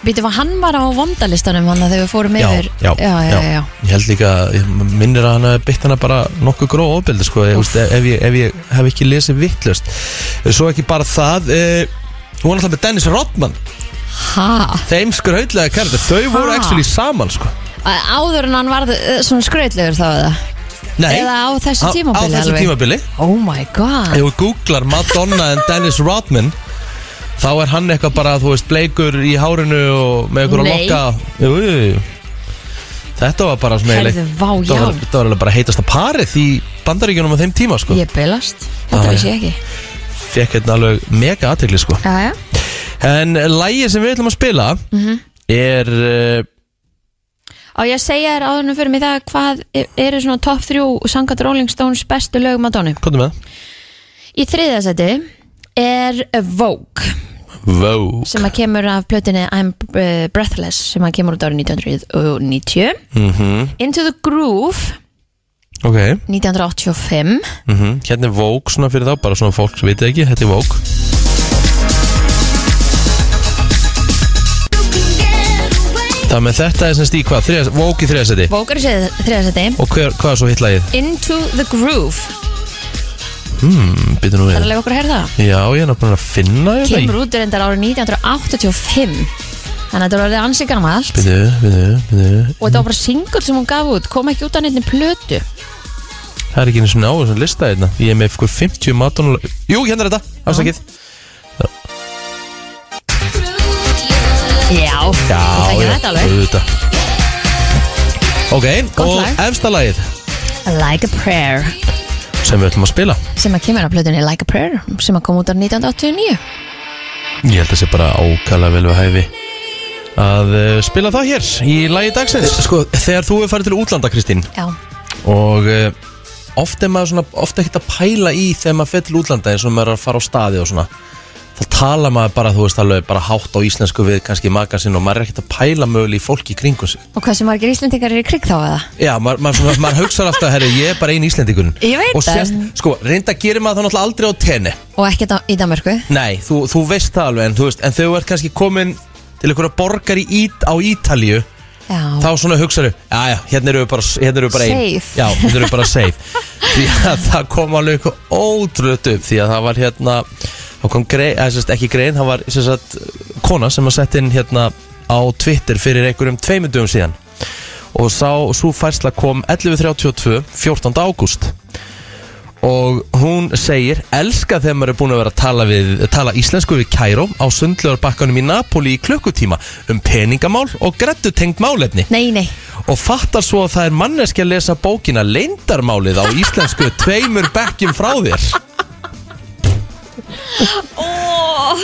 C: Býtu, var hann var á vondalistanum hann að þegar við fórum yfir
D: já,
C: já, já, já.
D: ég held líka ég minnir að hann hafi beitt hana bara nokkuð gróð ofbeldi sko ég, veist, ef, ég, ef ég hef ekki lesið vittlust svo ekki bara það e, hún var alltaf með Dennis Rodman
C: Ha,
D: þeim skrautlega kærði þau voru
C: Ha.
D: actually saman sko
C: að áður en hann varð eh, svona skrautlegur þá eða
D: Nei,
C: Eða á þessu
D: á, á
C: tímabili
D: þessu
C: alveg?
D: tímabili
C: Oh my god
D: ef þú googlar Madonna en Dennis Rodman þá er hann eitthvað bara, þú veist, bleikur í hárinu og með eitthvað að
C: Nei.
D: lokka jú, jú, jú. þetta var bara svona
C: Herðu,
D: eiginlega-
C: vá,
D: þetta var,
C: já.
D: þetta var alveg bara heitast að parið í bandaríkjunum á þeim tíma sko.
C: Ég bylast, þetta
D: Já, já.
C: veist ég ekki
D: fekk hérna alveg mega aðtegli sko.
C: Jæja
D: en lægið sem við ætlum að spila
C: Mhm.
D: er uh,
C: Á ég að segja þér áður en fyrir mig það hvað e- eru svona top 3 sangat Rolling Stones bestu lög Madonna
D: hvað er með það?
C: Í þriðja seti er Vogue
D: Vogue
C: sem að kemur af plötinni I'm eh, Breathless sem að kemur út árið 1990
D: mm -hmm.
C: Into the Groove
D: Ok,
C: 1985
D: mm hérna er Vogue svona fyrir þá, bara svona fólk sem veit ekki, þetta er Vogue Það með þetta er sem stík hvað, þriðas, Vogue í þriðasæti
C: Vókar séð þriðarsæti
D: Og hver, hvað er svo hitlægið?
C: Into the Groove
D: Mm, Býtu nú við
C: Það er alveg okkur að heyra það
D: Já, ég er náttúrulega að finna hérna. þetta í-
C: Kemur út reyndar árið 1985 Þannig að þetta var orðið ansið gamalt
D: Býtu, býtu, býtu
C: Og þetta var bara single sem hún gaf út Kom ekki út að neittni plötu
D: Það er ekki eins og náður sem lista hérna Ég er með ykkur 50 matónu Jú, hérna er þetta, afsakið
C: Já,
D: Já,
C: þú þekkir
D: já,
C: þetta alveg
D: auðvitað Ok,
C: Gott
D: og
C: lag.
D: efsta lagið
C: Like a Prayer
D: sem við ætlum að spila
C: Sem að kemur á plötunni Like a Prayer Sem að kom út árið 1989
D: Ég held að sé bara ákala vel við hæfi að uh, spila það hér í lagi dagsins Sko, þegar þú er farið til útlanda, Kristín
C: Já,
D: og uh, oft er maður svona oft ekkert að pæla í þegar maður fer til útlanda eins og maður er að fara á staði og svona þá tala maður bara, þú veist, alveg bara hátt á íslensku við kannski magasinn og maður er ekkert að pæla mögulega í fólki í kringum sig
C: og hversu margir Íslendingar eru í krig þá eða?
D: Já, maður ma ma ma hugsaði alltaf, herri, ég er bara einn Íslendingun
C: Ég veit
D: Og
C: það.
D: sérst, sko, reynda gerir maður það náttúrulega aldrei á tenni
C: Og ekki da- í Danmarku
D: Nei, þú, þú veist það alveg, en þú veist, en þau ert kannski komin til einhverja borgar í ít, á Ítalíu
C: Já,
D: Þá svona hugsaðu, já, já, hérna eru við bara, hérna eru við bara einn
C: Safe.
D: Já, hérna eru við bara safe Því að það kom alveg eitthvað ótrúlega upp Því að það var hérna, þá kom grein, eða sérst, ekki grein, það var sérst kona sem að sett inn hérna á Twitter fyrir einhverjum tveimundum síðan og sá, svo færsla kom 11.32, 14. ágúst og hún segir elska þegar maður er búin að vera að tala, við, tala íslensku við Kæró á sundlöðarbakkanum í Napoli í klukkutíma um peningamál og grættu tengt málefni
C: nei, nei
D: og fattar svo að það er manneski að lesa bókina Leindarmálið á íslensku tveimur bekkjum frá þér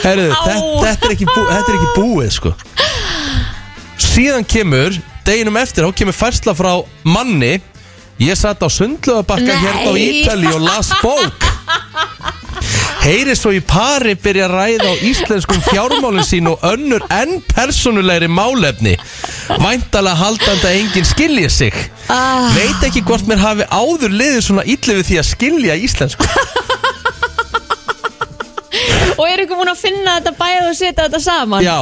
D: Herðu, þetta, þetta, er ekki bú, þetta er ekki búið sko Síðan kemur, deginum eftir þá kemur færsla frá manni Ég satt á sundlöðabakka
C: Nei.
D: hérna á Ítali og las bók Heyri svo í pari byrja að ræða á íslenskum fjármálum sín og önnur enn persónulegri málefni. Væntalega haldandi að enginn skilji sig.
C: Ah.
D: Veit ekki hvort mér hafi áður liðið svona illu við því að skilja íslensku.
C: Og er ykkur búin að finna þetta bæð og setja þetta saman?
D: Já,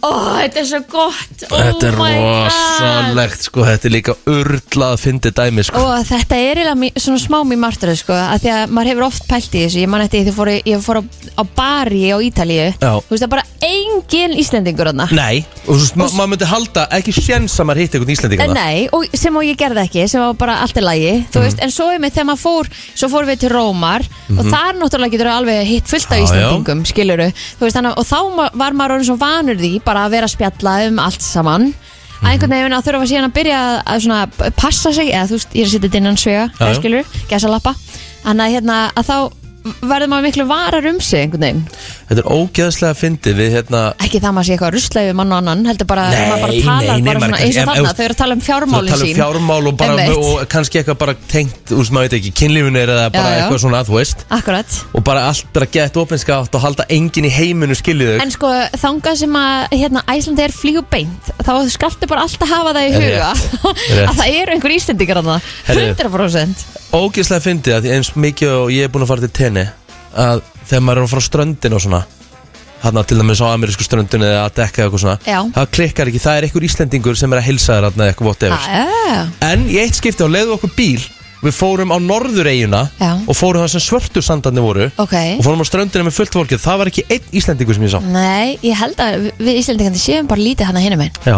C: Ó, þetta er svo gott oh
D: þetta er
C: my god.
D: rosalegt sko, þetta er líka urlað að fyndi dæmi sko.
C: Og þetta er eiginlega mí- svona smá mér martröð sko, að því að maður hefur oft pælt í þessu ég man eftir því fór, ég fór á, á bari á Ítalíu,
D: Já.
C: þú veist það er bara engin Íslendingur hann
D: Nei, og þú veist, ma- maður myndi halda ekki sjens að maður hitti einhvern íslendingana.
C: Eh, Nei, og sem og ég gerði ekki, sem var bara allt í lagi,
D: Mhm.
C: þú veist, en svo er með þegar maður fór, svo fór við til Rómar og þar náttúrulega getur alveg hitt fullt
D: Mhm. Já,
C: af
D: já.
C: Íslandingum, skiluru, þú veist, þannig, að- og þá ma- var maður orðin svo vanur því bara að vera að spjalla um allt saman,
D: Mhm.
C: að einhvern veginn að þurfa síðan að byrja að- að svona passa sig, eða þú veist, ég er að setja dinnan svega,
D: Já, já.
C: skiluru, gæsa lappa, þannig að hérna, að þá verður maður miklu varar um sig einhvern veginn,
D: Þetta er ógeðslega fyndið við hérna
C: ekki það maður sé eitthvað ruslegu við mann og annan, heldur bara,
D: Nei,
C: maður bara talar
D: nei, nei,
C: bara
D: maður
C: svona
D: kannski-
C: eins og
D: ef-
C: þarna,
D: ef-
C: þau eru að tala um
D: Það
C: fjármálin
D: tala
C: sín
D: um fjármál og, bara,
C: Einmitt.
D: og kannski eitthvað bara tengt úr sem maður veit ekki, kynlífun er eða bara
C: Já, já.
D: eitthvað svona að þú veist
C: Akkurat
D: og bara allt bara gett opinskátt og halda enginn í heiminu skiljið þau
C: En sko, þangað sem að hérna, Æslandi er flýgu beint þá skaltu bara alltaf hafa það í
D: Rétt,
C: huga
D: rétt.
C: að það eru einhver íslendingar hann
D: Herðu.
C: 100%
D: Ógeðslega fyndið að því eins mikið og ég er búin að fara til tenni að þegar maður er frá ströndin og svona hann til dæmis á amerísku ströndin eða að dekka eitthvað svona
C: Já.
D: það klikkar ekki, það er einhver íslendingur sem er að hilsa þér þarna eða eitthvað vott yfir
C: Ah,
D: En í eitt skipti á leiðu okkur bíl Við fórum á norðureiguna
C: Já.
D: Og fórum það sem svörtu sandandi voru
C: Ok.
D: Og fórum á ströndina með fullt fólkið Það var ekki einn Íslendingur sem ég sá
C: Nei, ég held að við íslendingandi séum bara lítið hann að hinum einn
D: Já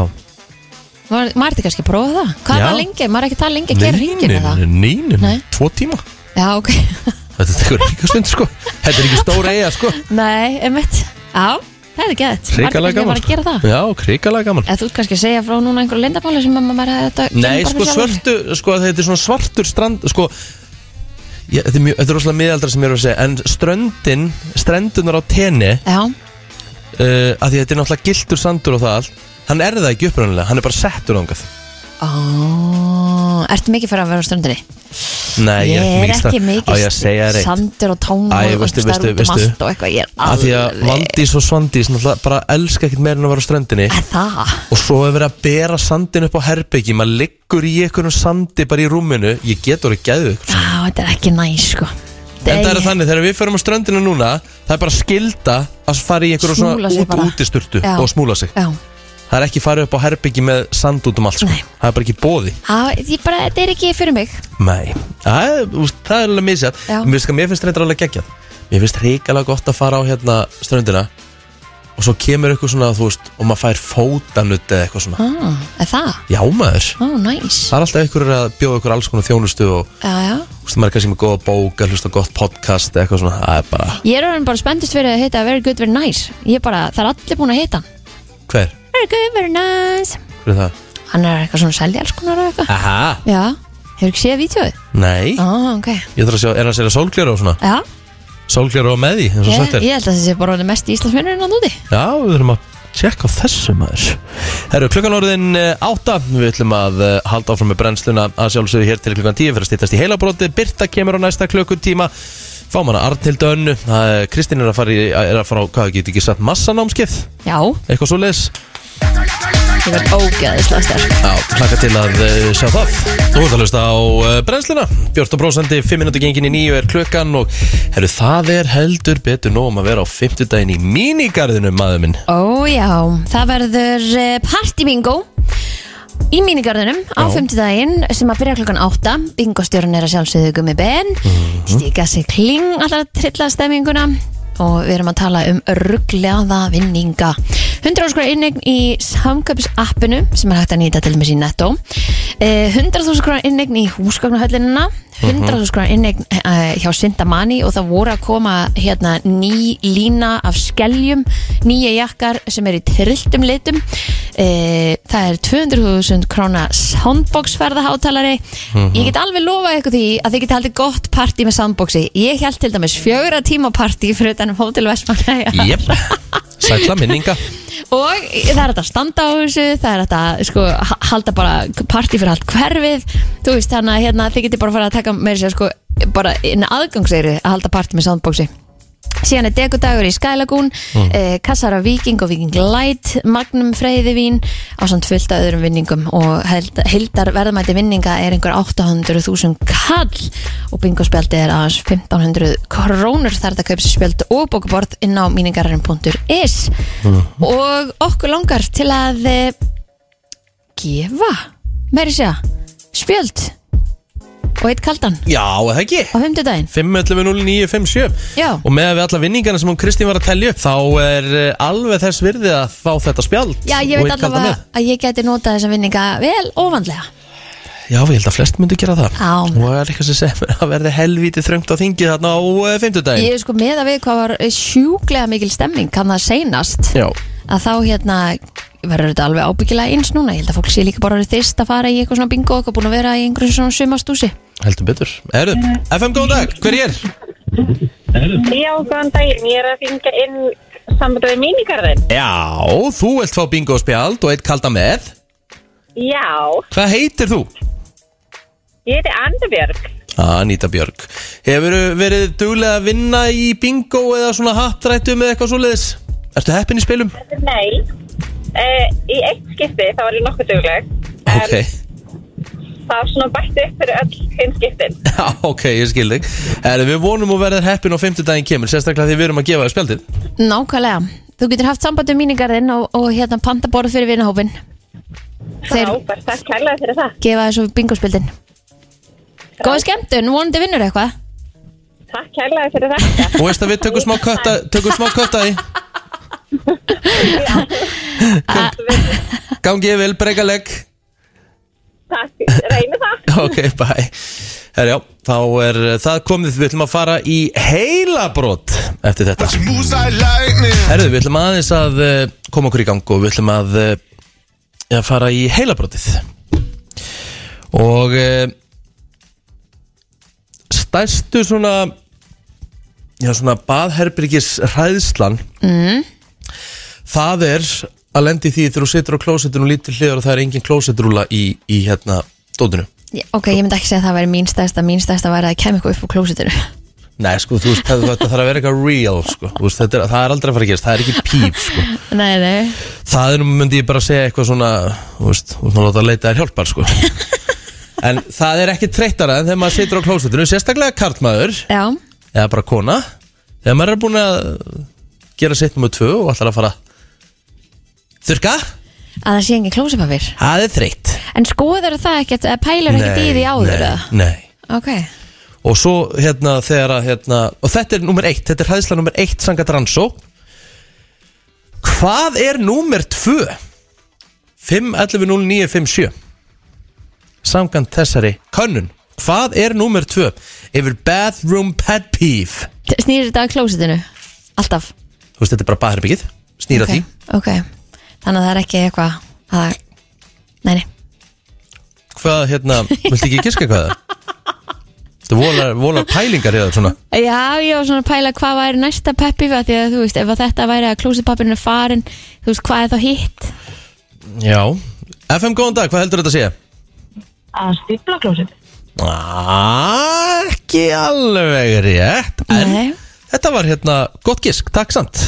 C: Maður maður er þetta kannski að prófa það Hvað
D: Já.
C: er það lengi? Maður er ekki það lengi að gera ringinu það
D: nein,
C: Nei.
D: tvo tíma
C: Já, ok
D: Þetta tekur líka stund sko Þetta er ekki stóra eiga sko
C: Nei, einmitt Já, það er gett
D: Ríkalega gaman sko.
C: Maður er kannski að fara að gera það
D: Já, ríkalega gaman
C: Eða þú ert kannski að segja frá núna einhverju lindamáli sem að maður er þetta
D: Nei,
C: kemur
D: sko
C: bara fyrir sjálfan sig.
D: svörtu, sko þetta er svona svartur strand Sko ég, Þetta er, mjög, þetta er rosalega miðaldra sem ég er að segja En ströndin, strendunar á tenni
C: Já,
D: uh, að því þetta er náttúrulega gildur sandur og það allt hann er það ekki upprunalega, hann er bara settur ángað
C: ó ertu mikið fyrir að vera á ströndinni?
D: Nei,
C: ég er
D: mikið
C: ekki
D: sta- Á ég að segja
C: mikið
D: það reitt
C: sandur og tánur
D: Æ,
C: og
D: veistu,
C: einhvers staðar
D: veistu,
C: út um
D: veistu.
C: allt og eitthvað, ég er
D: Af því að
C: alveg
D: Valdís og Svandís náttúrulega bara elska ekkert meira en að vera á ströndinni
C: Er það?
D: og svo hefur verið að bera sandin upp á herbyggi maður liggur í einhvernum sandi bara í rúminu ég getur að geðu ykkur
C: Já, þetta er ekki næs sko
D: en það er þannig þegar við förum á ströndina núna það er bara skilda að fara í einhverjum svona
C: Smúla sig
D: út,
C: bara.
D: útisturtu
C: Já.
D: og smúla sig
C: Já,
D: það er ekki farið upp á herbyggi með sand út um allt sko.
C: Nei.
D: það er bara ekki bóði
C: Á, ég bara, þetta er ekki fyrir mig
D: Nei, það er, þú veist, það er alveg misjað
C: Já.
D: mér, finnst- mér finnst reyndar alveg geggjað Mér finnst reikalega gott að fara á hérna ströndina Og svo kemur eitthvað svona, þú veist Og maður fær fótanut eða eitthvað svona
C: ah, Er það?
D: Já maður,
C: Ó, næs
D: það er alltaf einhver að bjóða ykkur alls konar þjónustu Og
C: Já, já
D: þú veist, maður er kannski með góða bók Að hlusta á gott podcast eða eitthvað svona Það er bara,
C: Ég er orðin bara spenntist fyrir að hitta Very good, very nice Ég er bara, það er allir búin að hitta hann
D: hver?
C: Very good, very nice
D: Hver er það?
C: Hann er eitthvað svona selja alls konar og eitthvað
D: Aha,
C: Já, hefur ekki séð vítjóið?
D: nei
C: Ó, ok
D: Ég þarf að sjá, er það að segja sólglera og svona?
C: Já,
D: Sólglera og með því, eins og
C: ég,
D: sagt er
C: ég held að þessi bara orðin mest í Íslandsmennurinn á núti
D: Já, við þurfum að tjekka á þessu maður Herru, klukkan orðin eh, átta Við ætlum að eh, halda áfram með brennsluna að sjálfsögðu hér til klukkan tíu fyrir að stýttast í heilabróti Birta kemur á næsta klukkutíma Fáum hana Arnhild Önnu Það er- Kristín er að fara, í, er að fara á, hvað get ekki satt, massanámskið
C: Já,
D: Eitthvað svo leis
C: ég verð ógeðislega sterk
D: Já, hlaka til að eh, sjá það Þú ert að hlusta á eh, brennsluna Björn og brósandi, 5 minúti gengin í nýju er klukkan og herru, það er heldur betur nóg um að vera á 50 daginn í mínigarðinu, maður minn
C: Ó já, það verður eh, party bingo í mínigarðinum á
D: Já.
C: fymtudaginn sem að byrja klokkan 8 bingostjórun er að sjálfsögðu gummi ben
D: Mhm.
C: mm. stíka sig kling allar að trilla stemminguna og við erum að tala um rugglegaða vinninga 100 óskar innegn í samköps appinu sem er hægt að nýta til dæmis í netto Eh, 100.000 krónar innegn í húsgagnahöllinna 100.000 krónar innegn eh, hjá Sintamani og það voru að koma hérna ný lína af skeljum, nýja jakkar sem er í trilltum litum eh, það er 200.000 krónar soundbox ferðaháttalari ég get alveg lofað ykkur því að þið geti haldið gott partí með soundboxi ég held til dæmis fjögra tíma partí fyrir um utanum Hotel Vestmanna
D: Jep, sætla minninga
C: og það er þetta að standa á þessu það er þetta að sko, ha- halda bara partí fyrir allt hverfið þú veist þannig að hérna, þið getur bara að fara að taka með sér sko, bara inn aðgangseyri að halda partí með soundboxi síðan er degudagur í Skylagún mm. eh, kassar af Viking og Viking Light Magnum Freyðivín á samt fullt af öðrum vinningum og held- heildar verðmæti vinninga er einhver 800.000 kall og bingospjaldi er aðeins 1500 krónur þar þetta kaupsi spjald og bókuborð inn á míningararinn.is og okkur langar til að eh, gefa meiri segja spjöld og eitt kaldan
D: Já, eða ekki
C: á 5. daginn
D: 5.11.09.57
C: Já.
D: Og með við alla vinningana sem hún Kristín var að telja upp Þá er eh, alveg þess virði að fá þetta spjald
C: Já, ég
D: og eitt
C: veit
D: kaldan
C: allavega að ég geti notað þessa vinninga vel óvanlega
D: með. Já, ég held að flest myndi gera það
C: Já.
D: Og það er eitthvað sem segir að verði helvítið þröngt á þingið þarna á uh, fimmtudaginn
C: Ég er sko með að við hvað var sjúklega mikil stemming kann það seinast
D: Já,
C: að þá hérna verður þetta alveg ábyggilega eins núna ég held að fólk sé líka bara orðið þyrst að fara í eitthvað svona bingo og búin að vera í einhverjum svona sumastúsi
D: heldur betur Erðu, FM góðan dag, hver er?
E: Já, góðan daginn. Ég er að fengja inn samband við mínigarðin.
D: Já, þú vilt fá bingo spjald og eitt kaldan með
E: Já,
D: Hvað heitir þú?
E: ég heiti Andabjörg.
D: Anita Björg Hefur verið duglega að vinna í bingo eða svona hattrættu með eitthvað svoleiðis? Ertu heppin í spilum?
E: Nei, uh, í eitt skipti þá var ég nokkuð dugleg. En
D: Ok,
E: það var svona bætti upp fyrir öll hinn skiptin.
D: já, ok, ég skil þig Erum við vonum að verða heppin á fimmtudaginn kemur sérstaklega því við erum að gefa þér spjaldið
C: Nákvæmlega, þú getur haft samband um míningarðinn og, og hérna pantaborð fyrir vinahópin
E: Þeir...
C: þeir
E: Frábært, takk kærlega fyrir það.
C: gefa þessu bingospildin Góða skemmtun, vonandi vinnur eitthvað
E: Takk kærlega fyrir þetta.
D: Og veist að við tökum smá kötta, tökum smá kötta í Gangi ég vil, breyka legg
E: takk, reynum það.
D: Ok, bye Herjá, þá er eh, það komið, við ætlum að fara í heilabrót eftir þetta
A: Moves like lightning.
D: Herðu, við ætlum aðeins að eh, koma okkur í gang og við ætlum að eh, að fara í heilabrótið og eh, stærstu svona já, svona baðherbyrgis hræðslan mm. það er að lendi því þegar þú situr á klósettinu og lítur hliðar og það er engin klósettrúla í, í hérna dótinu
C: Ok, ég myndi ekki segja að það væri mín stærsta Mín stærsta væri að það kemur eitthvað upp úr klósitinu
D: Nei, sko, þú veist, það, það þarf að vera eitthvað real, sko Þú veist, þetta er, það er aldrei að fara að gerast, það er ekki píp, sko
C: Nei, nei
D: Það er nú, myndi ég bara segja eitthvað svona Þú veist, þú veist, maður láta að leita þér hjálpar, sko En það er ekki treytara en þegar maður situr á klósetinu Sérstaklega karlmaður,
C: Já,
D: eða bara kona Þegar maður er búin að gera sitt nummer tvö og ætlar að fara Þurka,
C: að það sé engin klósipapir
D: það er þreytt
C: En skoður það ekkert, eða pælur ekkert í því áður
D: nei,
C: eða?
D: nei
C: Ok,
D: Og svo hérna þegar að hérna Og þetta er nummer eitt, þetta er hæðsla nummer eitt Sangat Ransó Hvað er nummer tvö? 5.11.09.57 Samkant þessari Könnun, hvað er nummer tvö? Yfir bathroom pet peeve
C: snýr þetta að klósitinu Alltaf
D: Þú veist, þetta er bara bathherbyggið Snýra
C: Ok, ok Þannig að það er ekki eitthvað að Nei, nei
D: því Hvað hérna, viltu ekki giska hvað það? er? Þetta volar, volar pælingar hérna svona
C: Já, ég var svona að pæla hvað væri næsta peppi að því að þú veist, ef að þetta væri að klósipapirinu farin, þú veist, hvað er þá hitt?
D: Já FM, góðan dag, hvað heldur þetta að segja?
E: Að stífla klósit.
D: Ah, ekki alveg rétt en
C: Nei.
D: þetta var hérna gott gisk, takk samt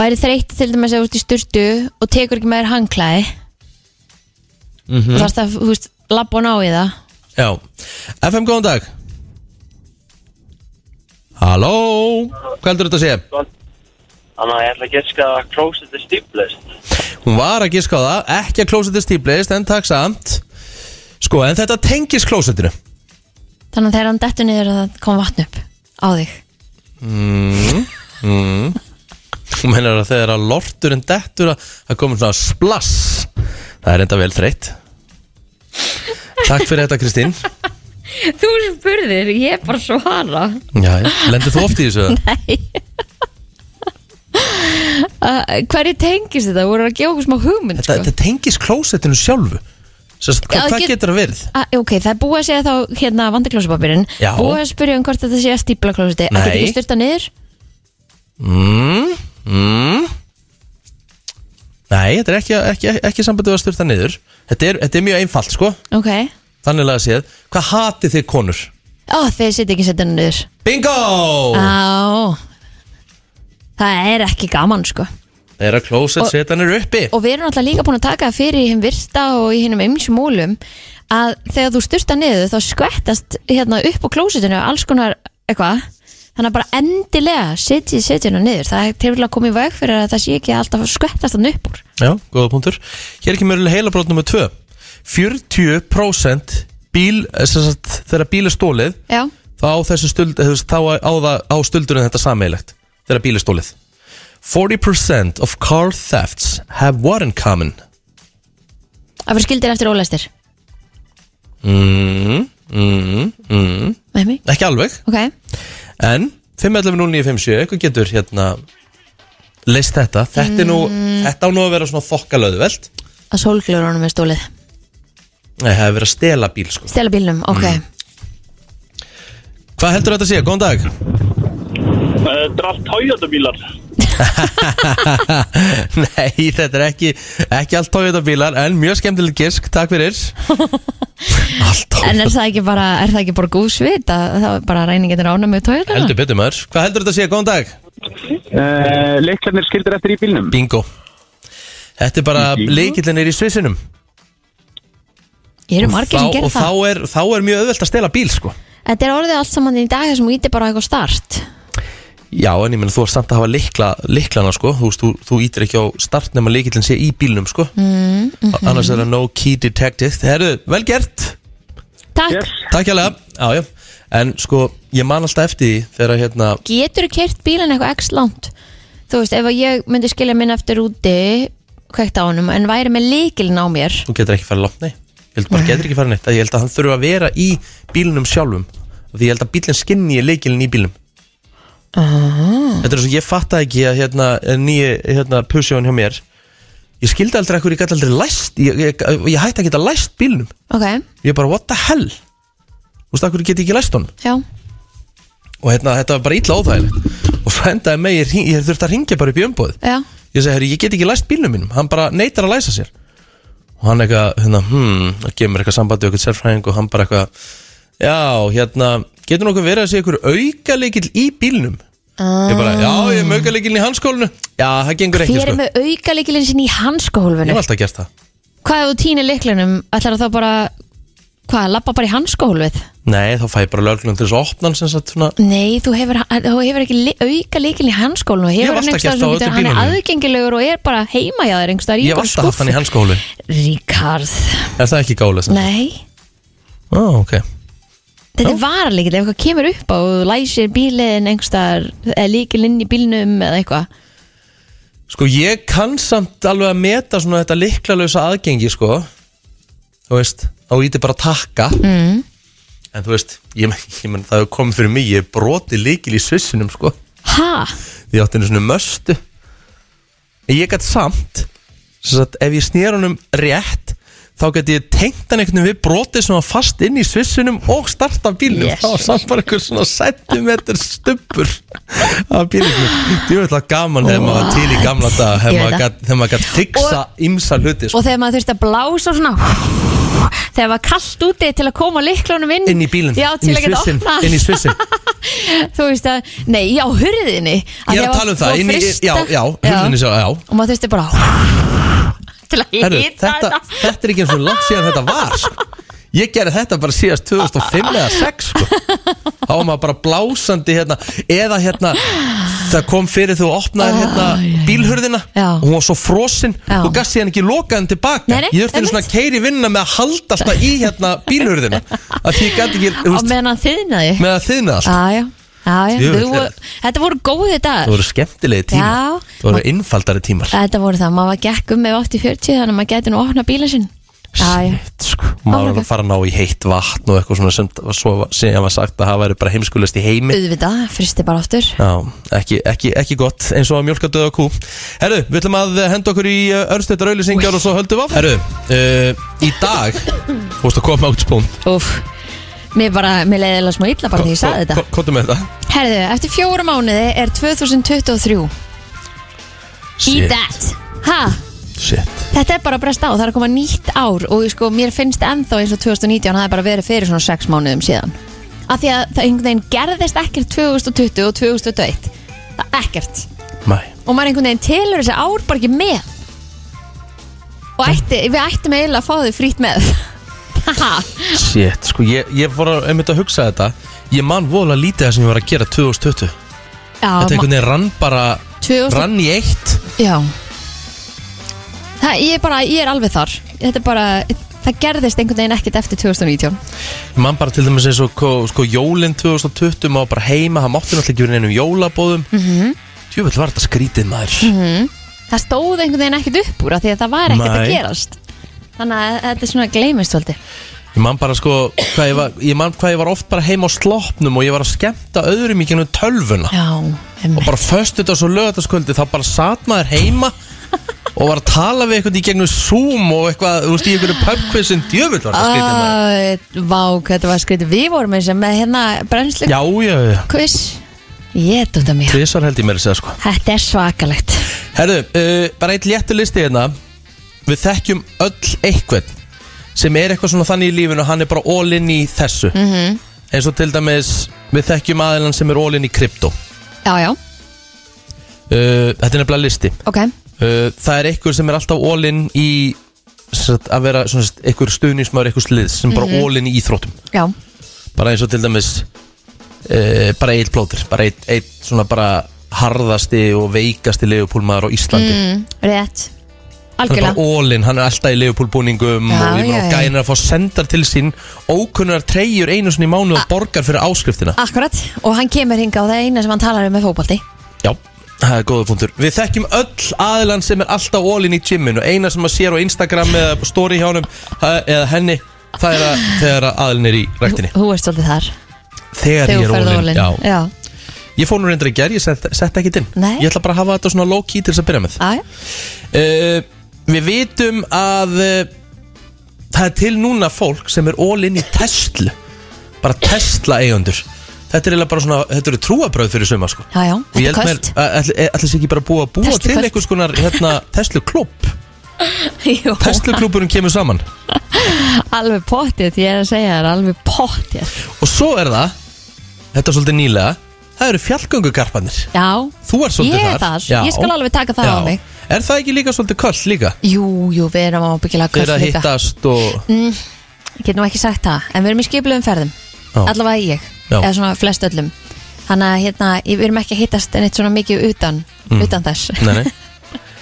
C: Væri þreytt til dæmis að þú ert í styrtu og tekur ekki með þér hangklæði mm
D: Mhm.
C: -hmm. og þarst að, þú veist, labba og ná í það
D: já, FM góðan dag halló hvað heldur þetta að segja?
F: Þannig að ég ætla að giska að klósið er stíplist.
D: hún var að giska á það, ekki að klósetið stíplist en takk samt sko, en þetta tengis klósetinu
C: þannig að þegar hann dettur niður að það kom vatn upp á þig
D: hún meinar að þegar að lorturinn dettur að það komur svona splass það er enda vel þreytt takk fyrir þetta Kristín
C: Þú spurðir, ég er bara svara
D: já, lendur þú oft í þessu?
C: Nei uh, Hverju tengist þetta? Þú voru að gefa okkur smá hugmynd
D: Þetta,
C: sko.
D: þetta tengist klósettinu sjálfu Sest,
C: Já,
D: hva, Hvað
C: get-
D: getur það verið?
C: Ah, ok, það er búið að segja þá hérna vandi klósipapirinn
D: Já.
C: Búið að spyrja um hvort þetta sé að stípla klósiti
D: Nei.
C: Það getur ekki styrta niður
D: Mm, mm. Nei, þetta er ekki, ekki, ekki sambandið að styrta niður þetta er, þetta er mjög einfalt sko
C: Ok
D: Þannig að séð, hvað hatið þið konur?
C: Ó, þeir setja ekki setja niður
D: Bingo!
C: Ah. Á Það er ekki gaman sko
D: Það er að klósett
C: Og-
D: setja niður uppi
C: Og við erum alltaf líka búin að taka það fyrir í hinn virta og í hinnum ymsum múlum að þegar þú styrta niður þá skvettast hérna upp á klósitinu alls konar eitthvað Þannig að bara endilega setji setjuna niður. Það er til að koma í veg fyrir að það sé ekki alltaf að skvettast hann upp úr.
D: Já, góða punktur Hér er ekki mjög heila brot nummer 2 40% bíl, eh, sem sagt, þegar bíl er stólið
C: Já,
D: þá á þessu stuld eh, þú veist, þá á, það, á stuldurinn þetta sameigilegt þegar bíl er stólið 40% of car thefts have what in common
C: að fyrir skildir eftir ólæstir.
D: mm, mm, mm.
C: Með mig?
D: ekki alveg
C: Ok,
D: en 511-0957, eitthvað getur hérna leist þetta þetta, er nú, þetta á nú að vera svona þokkalöðveld
C: að sólglurunum er stólið
D: Nei, það hefur verið að stela bíl sko
C: Stela bílnum, ok
D: Mm. Hvað heldur þetta að sé? Góðan dag
F: Eh, Þetta er allt Toyota bílar.
D: Nei, þetta er ekki, ekki allt Toyota bílar En mjög skemmtileg gisk, takk fyrir Allt
C: En
D: Toyota
C: er það ekki bara, er það ekki bara góð svit að það er bara reyningin er ána með tóðina?
D: Heldur betur maður Hvað heldur þetta að sé? Góðan dag
G: Uh, Leiklarnir skildir eftir í bílnum
D: Bingo Þetta er bara leikillin er í svissinum
C: Ég eru margir sem gerir
D: Og þá
C: það
D: er, þá er mjög auðvelt að stela bíl sko
C: Þetta er orðið allt saman í dag þessum þú ítir bara á eitthvað start
D: Já, en ég menn þú er samt að hafa likla, liklana sko Þú, veist, þú, þú ítir ekki á start nema leikillin sé í bílnum sko mm,
C: mhm.
D: Annars er það no key detected Herru, vel gert
C: Takk,
D: Takk hérlega Já, já En sko, ég man alltaf eftir því þegar að, hérna
C: getur þú kert bílan eitthvað x langt? Þú veist, ef að ég myndi skilja minn eftir úti kveikt á honum, en væri með líkilin á mér
D: þú getur ekki farið langt, nei ég held bara, getur ekki farið neitt, ég held að hann þurfa að vera í bílunum sjálfum því ég held að bílinn skinni í leikilin í bílnum þetta er svo, ég fatt ekki að hérna, nýja hérna, pusjóin hjá mér ég skildi aldrei ekkur, ég gæti aldrei læst ég, ég, ég hætti að geta læst bílnum
C: Ok,
D: ég bara, what the hell þú veist, akkur get ég ekki læst honum
C: já,
D: og hérna, þetta var bara illa óþægilegt og svo endaði með, ég, hring- ég þurfti að ringja bara upp í umbóð
C: já
D: ég segi, herru, ég get ekki læst bílnum mínum hann bara neytar að læsa sér og hann eitthvað, hérna, hmm, og gemur eitthvað sambandi við eitthvað sérfræðing og hann bara eitthvað já, hérna, getur nokkuð verið að sé ykkur aukaleikil í bílnum ég bara, já, ég er með aukalikilin í hanskólinu já, það gengur ekki,
C: Þér er
D: sko
C: með aukalikilinn sinni í
D: ég
C: hanskóhulfunum
D: hef alltaf gert það
C: Hvað ef þú týnir liklunum? Ætlar þá bara, hvað, lappa bara í hanskóhulfið?
D: nei, þá fæ ég bara löglum til þess að opna hann sem sagt, svona,
C: Nei, þú hefur, þú hefur ekki li- auka líkilin í hanskólinu og
D: Ég hef
C: hefur
D: alltaf
C: einhvers staðar
D: gert það á
C: sem getur-
D: öllum
C: hann er
D: bílunum.
C: aðgengilegur og er bara heima hjá þér einhverstað
D: ég hef alltaf haft hann í hanskólu er
C: Ríkard,
D: það ekki gálega sem
C: nei
D: Ó, ok
C: Þetta er varalíkil, ef eitthvað kemur upp á og þú læsir bílinn einhverstaðar eða líkilinn í bílnum eða eitthvað
D: Sko ég kann samt alveg að meta svona þetta liklalausa aðgengi sko Þú veist, þá íti bara að takka mm. En þú veist, ég, men- ég menn það hefur komið fyrir mig Ég broti likil í svissinum sko
C: Ha?
D: Því ég átti einu svona möstu En ég gætt samt Svo að ef ég snýr honum rétt Þá gæti ég tengt hann einhvern veginn við brotið sem var fast inn í svissinum og starta bílnum
C: Yes.
D: Þá var samt bara einhver svona sentimeter stubbur af bílnum Þú veit það gaman þegar maður var til í gamla dag
C: Ég veit
D: Þegar maður
C: það.
D: gat- þegar maður gætt fixa ymsa hluti sko,
C: Og þegar maður þurfti að blása svona Þegar maður kallt úti til að koma liklunum inn
D: Inn í bílinn,
C: Já,
D: inn
C: til
D: í
C: að geta
D: svissin,
C: opnað
D: inn í svissin
C: Þú veist að, nei, já, hurðinni
D: Ég er að tala um það, inn í, já, já, hurðinni sjá, já
C: og maður þurfti bara til að
D: Herru,
C: hýta
D: þetta,
C: þetta
D: þetta er ekki eins og langt síðan þetta var sko. Ég gerði þetta bara síðast 2005 eða 2006 sko. Þá var maður bara blásandi hérna, Eða hérna Það kom fyrir þú opnaðir hérna, bílhurðina
C: Já.
D: og Hún var svo frosin
C: Já.
D: Þú gast síðan ekki lokaðin tilbaka
C: Nei, nei,
D: Ég þurfti einu svona
C: einmitt.
D: keiri vinna með að halda alltaf í hérna, bílhurðina Af því ég gæti ekki þú
C: á
D: veist,
C: meðan Ah. hann þiðnaði
D: með að þiðna allt
C: aðja, aðja
D: Jú,
C: þetta voru góði
D: Það
C: dagar
D: voru skemmtilegi tímar
C: Já.
D: Það voru innfaldari tímar
C: þetta voru það, maður gekk um með 80-40 þannig að maður gæti nú opna bílinn sinn aðja,
D: Shit, sko. Maður var að fara að ná í heitt vatn og eitthvað svona sem var svo sem var sagt að það væri bara heimskulist í heimi
C: auðvitað, fristi bara aftur
D: Já, ekki, ekki, ekki gott eins og að mjölka döða kú Herru, við ætlum að henda okkur í örstættar auðlýsingar og svo höldum við af Herru, uh, í dag Þú veist að koma átt spún
C: Úf. mér bara, mér leiði eða smá illa bara því ég sagði þetta
D: Kottu með þetta
C: herðu, eftir fjóra mánuði er 2023 eat that ha,
D: Shit
C: Þetta er bara að bresta á, það er að koma nýtt ár og sko, mér finnst ennþá eins og 2019 það er bara verið fyrir svona 6 mánuðum síðan af því að það einhvern veginn gerðist ekkert 2020 og 2021 það er ekkert
D: Mæ
C: og maður einhvern veginn telur þessi ár bara ekki með og ætti, við ættum eiginlega að fá þau frýtt með haha,
D: Shit, sko, ég, ég fór að, einmitt að hugsa þetta Ég man vola lítið það sem ég var að gera 2020
C: já,
D: Þetta
C: ma-
D: einhvern veginn rann bara
C: 2000
D: Rann í eitt
C: já það, ég er bara, ég er alveg þar þetta er bara, það gerðist einhvern veginn ekkert eftir 2019
D: Ég man bara til dæmis eins og ko- sko, jólin 2020 Má bara heima, það mátti náttúrulega ekki verið neinum jólabóðum mm -hmm. Tjöfull var þetta skrítið maður
C: það stóð einhvern veginn ekkert upp úr af því að það var ekkert að
D: Nei.
C: gerast þannig að þetta er svona gleymist svolítið
D: Ég man bara sko, hvað ég, var, ég man hvað ég var oft bara heima á sloppnum og ég var að skemmta öðrum í gennum tölvuna
C: já,
D: og bara föstudags og lögataskvöldi þá bara sat maður heima og var að tala við eitthvað í gennum Zoom og eitthvað, þú veist, í einhverju pubquizin djöfull var það skrítið maður
C: uh, vá, hvað þetta var skrítið við vorum eins og með hérna brennslu
D: Já, já, já,
C: kviss ég dóta mér
D: tvisar held ég meira að segja sko
C: þetta er svakalegt
D: Herðu, uh, bara eitt léttu listi hérna Við þekkjum öll eitthvað sem er eitthvað svona þannig í lífinu hann er bara all in í þessu -hmm. eins og til dæmis við þekkjum aðilann sem er all in í krypto
C: já, já,
D: Uh, þetta er nefnilega listi
C: ok
D: uh, Það er einhver sem er alltaf all-in í sem sagt, að vera svona, sagt, einhver stuðnismæður, einhver sliðs sem bara all-in í íþróttum
C: já,
D: bara eins og til dæmis uh, bara eitt plótur bara eitt, eitt svona bara harðasti og veikasti legupúlmaður á Íslandi
C: mm, rétt
D: hann er
C: algjörlega
D: bara all-in, hann er alltaf í legupúlbúningum
C: Já,
D: og ég meina
C: já,
D: og
C: já.
D: gæðin er að fá sendar til sín ókunnar treyjur einu sinni í mánu og borgar fyrir áskriftina
C: akkurat og hann kemur hinga og það er eina sem hann talar um með fókbalti
D: Já, það er góða punktur Við þekkjum öll aðilann sem er alltaf ólinn í gyminu Eina sem maður sér á Instagram eða story hjá honum það- eða henni Það er að, þegar að aðilinn er í ræktinni
C: þú ert svolítið þar
D: Þegar ég
C: þegar þú
D: er
C: ferð
D: ólinn
C: ólinn
D: Já,
C: já,
D: ég fór nú reyndar í gerð, ég sett, sett ekki inn
C: Nei.
D: Ég ætla bara að hafa þetta svona low key til þess að byrja með
C: Á, já.
D: uh, Við vitum að uh, það er til núna fólk sem er ólinn í Tesla Bara Tesla eigundur Þetta er eiginlega bara svona, þetta eru trúabröð fyrir suma sko
C: já, já,
D: Ég held
C: þetta er
D: eh, mér,
C: kvöld
D: ætli ætli sé ekki bara búið að búa
C: Tesla
D: til
C: kvöld.
D: einhvers konar hérna, Tesla klubb
C: Jú,
D: Tesla-klúburinn kemur saman
C: alveg pottið, ég er að segja þér, alveg pottið
D: Og svo er það, þetta er svolítið nýlega Það eru fjallgöngugarparnir
C: Já,
D: Þú er svolítið
C: ég er
D: þar
C: þar,
D: Já.
C: ég skal alveg taka það
D: Já.
C: á mig
D: Er það ekki líka svolítið köll líka?
C: Jú, jú, við erum ábyggilega
D: Þeir
C: köll
D: að
C: líka
D: hittast og
C: Ég get nú ekki sagt það, en við erum í skipluðum ferðum
D: Já.
C: Allavega ég,
D: Já.
C: eða svona flest öllum Þannig að hérna, ég- við erum ekki að hittast en eitt svona mikið utan, utan þess
D: Mm. Nei, nei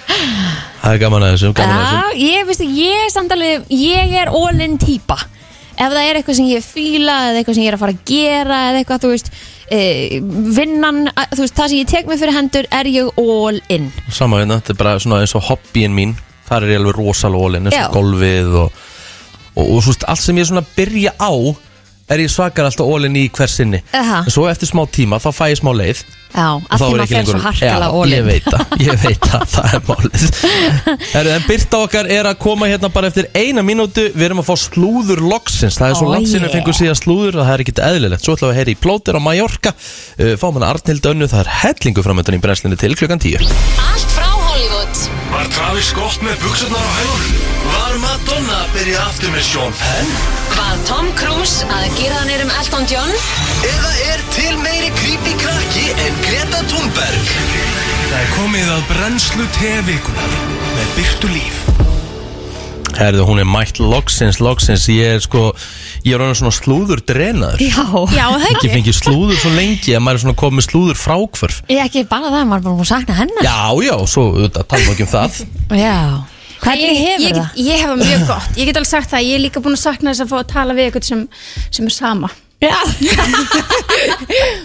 D: Það er gaman að þessu, gaman að þessu.
C: Já, ég veist ekki, ég er samt alveg, ég er all-in týpa Ef það er eitthvað sem ég fíla eða eitthvað sem ég er að fara að gera eða eitthvað, þú veist, e, vinnan, að- þú veist, það sem ég tek mig fyrir hendur er ég all-in
D: Sama hérna, þetta er bara svona eins og hobbyin mín Þar er ég alveg rosalega ólinn, eins
C: Já.
D: og golfið og, og, og svo veist, allt sem ég svona byrja á Er ég svakar alltaf ólinn í hver sinni
C: Aha.
D: En svo eftir smá tíma, þá fæ ég smá leið
C: Já,
D: og
C: að
D: þá
C: því
D: er
C: maður
D: ekki
C: fer svo
D: lengur- Já,
C: harkalega
D: Ég
C: all-in
D: veit það, ég veit það, það er málið Heru, En Birta okkar er að koma hérna bara eftir eina mínútu Við erum að fá slúður loksins Það er svo
C: Ó,
D: oh, langt sinni
C: yeah.
D: yeah. fengur síðan slúður og Það er ekkit eðlilegt Svo ætlum við að heyra í plótir á Mallorca uh, Fáum hana Arnhild Önnu, það er hellingu framöndan í brennslinu til klukkan 10
H: Allt frá Hollywood
B: Var Travis gott með buksunar á hælunum? Var Madonna að byrja aftur með Sean Penn?
H: Var Tom Cruise að gera hann erum Elton John
B: Eða er til meiri creepy krakki en Greta Thunberg?
A: Það er komið að brennslu tevikunar með Byrtu Líf
D: Herðu, hún er mætt loksins, loksins Ég er sko, ég er orðin svona slúður drenaður
C: Já,
I: Já, það
D: Ekki fengið slúður svo lengi að maður er svona komið slúður frákvörf
C: ég ekki bara það, maður er bara búin að sakna hennar
D: Já, já, svo auðvitað, talum við ekki um það
C: Já. Hvernig
I: ég,
C: hefur
I: ég,
C: það?
I: get- ég hef það mjög gott, ég get alveg sagt það ég er líka búin að sakna þess að fá að tala við eitthvað sem, sem er sama
C: Já,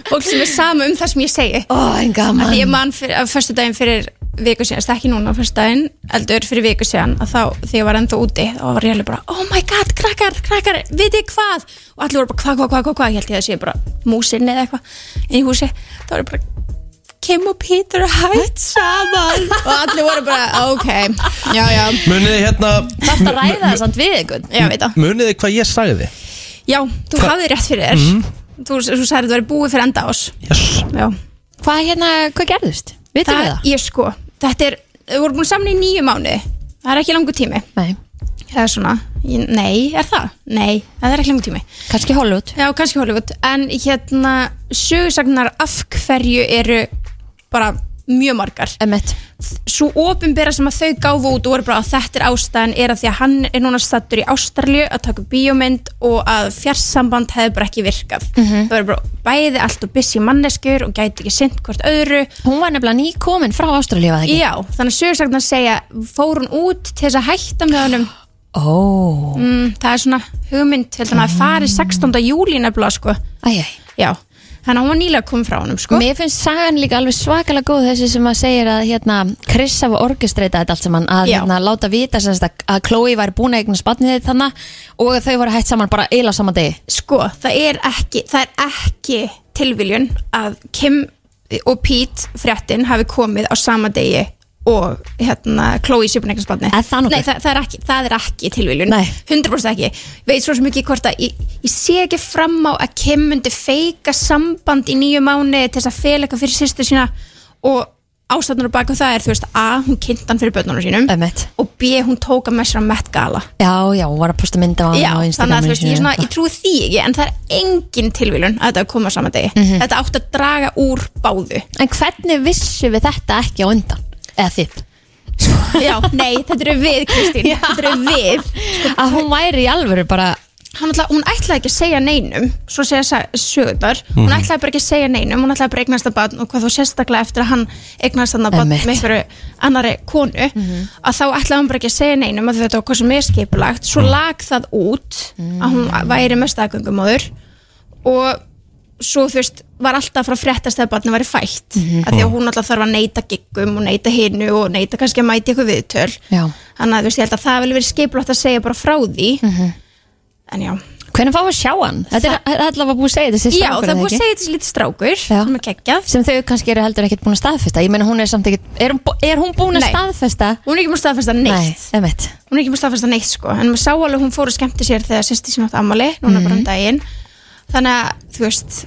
I: fólk sem er sama um það sem ég segi
C: ó, en gaman
I: því ég man fyrir, af fyrstu daginn fyrir viku síðan, það er ekki núna á fyrstu daginn eldur fyrir viku síðan, að þá því ég var enda úti þá var ég alveg bara, oh my god, krakkar, krakkar vitið þið hvað, og allir voru bara hvað, hvað, hvað, hvað, hvað, ég held ég að sé bara músinni eða eitthvað í húsi, þá var ég bara Kim og Peter hætt saman og allir voru bara, ok já, já,
D: Muniði hérna
C: Þarftu að ræða það samt við einhvern
I: já, veit það
D: Muniði hvað ég sagði?
I: já, þú hafði rétt fyrir þér þú, þú sagði að þú væri búið fyrir enda ás
D: Yes.
I: já,
C: Hvað hérna, hvað gerðist? Vitum við það?
I: það, ég sko þetta er, við vorum búin saman í nýju mánu það er ekki langur tími
C: Nei,
I: eða svona, ég, nei, er það? Nei, það er ekki langt tími
C: kannski Hollywood
I: Já, kannski Hollywood, en hérna sögursagnar af hverju eru bara mjög margar
C: Emmett
I: svo ofinbera sem að þau gáfu út og voru bara að þetta er ástæðan er að því að hann er núna stattur í Ástralju að taka upp bíómynd og að fjarsamband hefði bara ekki virkað
C: Mhm.
I: það voru bara bæði allt og busy manneskur og gæti ekki sint hvort öðru
C: Hún var nefnilega nýkomin frá Ástralíu að ekki?
I: Já, þannig að sögursagnar segja fór hún út til þess að hætta með honum
C: Ó,
I: Mm, það er svona hugmynd held hann að fari 16. júli nefnilega sko.
C: æjæj
I: Já, þannig að hún var nýlega komið frá honum sko.
C: Mér finnst sagan líka alveg svakalega góð þessi sem að segir að hérna Chris hafa orkestreita þetta allt saman að
I: Já.
C: hérna, láta vita sem sagt að- að Chloe var búin að eigna spatnið þitt þannig og þau voru hætt saman bara eila saman degi
I: Sko, það er ekki það er ekki tilviljun að Kim og Pete fréttin hafi komið á sama degi og hérna Chloe Sjöpunæknarsbarni
C: Er það nokkuð?
I: Nei, það, það, er ekki, það er ekki tilviljun
C: Nei.
I: 100% ekki Veit svo sem ekki hvort að ég, ég sé ekki fram á að Kim myndi feika samband í nýju mánu til þess að fela eitthvað fyrir sýstu sína og ástæðnur á baku það er þú veist A, hún kynnt hann fyrir börnunum sínum
C: Emmett
I: og B, hún tóka með sér að Met Gala
C: Já, já, hún var að posta mynda á hann á
I: Já, þannig að þú
C: Instagraminu
I: veist, ég, er svona,
C: sínu.
I: ég trúi því ekki en það er engin tilvílun að þetta koma saman degi þetta átt að draga úr báðu
C: En hvernig vissu við þetta ekki á undan? Eða þitt?
I: Já, nei, þetta eru við Kristín,
C: Já.
I: þetta eru við
C: Að hún væri í alvöru bara
I: Sko, Hann ætla, hún ætlaði ekki að segja neinum svo segja sa- sögurnar, hún ætlaði bara ekki að segja neinum hún ætlaði bara að eignast að barn og hvað þú sérstaklega eftir að hann eignast að barn
C: Einmitt.
I: með einhverju annari konu að þá ætlaði hún bara ekki að segja neinum að þetta var hvað sem er skipulagt svo lag það út að hún væri með staðgöngumóður og svo þú veist var alltaf frá fréttast þegar barnið væri fætt
C: Mhm.
I: af því að hún alltaf þarf að neyta giggum og neyta hinnu og neyta kannski að mæti eitthvað viðtöl
C: Já.
I: þannig að þú veist ég held að það vil verið skipulagt að segja bara frá því
C: Mhm.
I: en já
C: Hvernig fáum við að sjá hann? Þetta er þetta er allavega búið að segja þessi
I: Já,
C: strákur,
I: það er
C: eða
I: búið að
C: ekki?
I: segja þessi lítið strákur
C: Já.
I: sem er geggjað
C: sem þau kannski eru heldur ekkert búin að staðfesta ég meina hún er samt ekkert er hún, bú- er hún búin að
I: Nei.
C: staðfesta?
I: Hún er ekki múið staðfesta neitt
C: Nei, emitt
I: Hún er ekki múið staðfesta neitt sko En maður sá alveg hún fór og skemmti sér þegar sýsti sín átt ammali Núna
C: Mhm.
I: bara um daginn Þannig að, þú veist,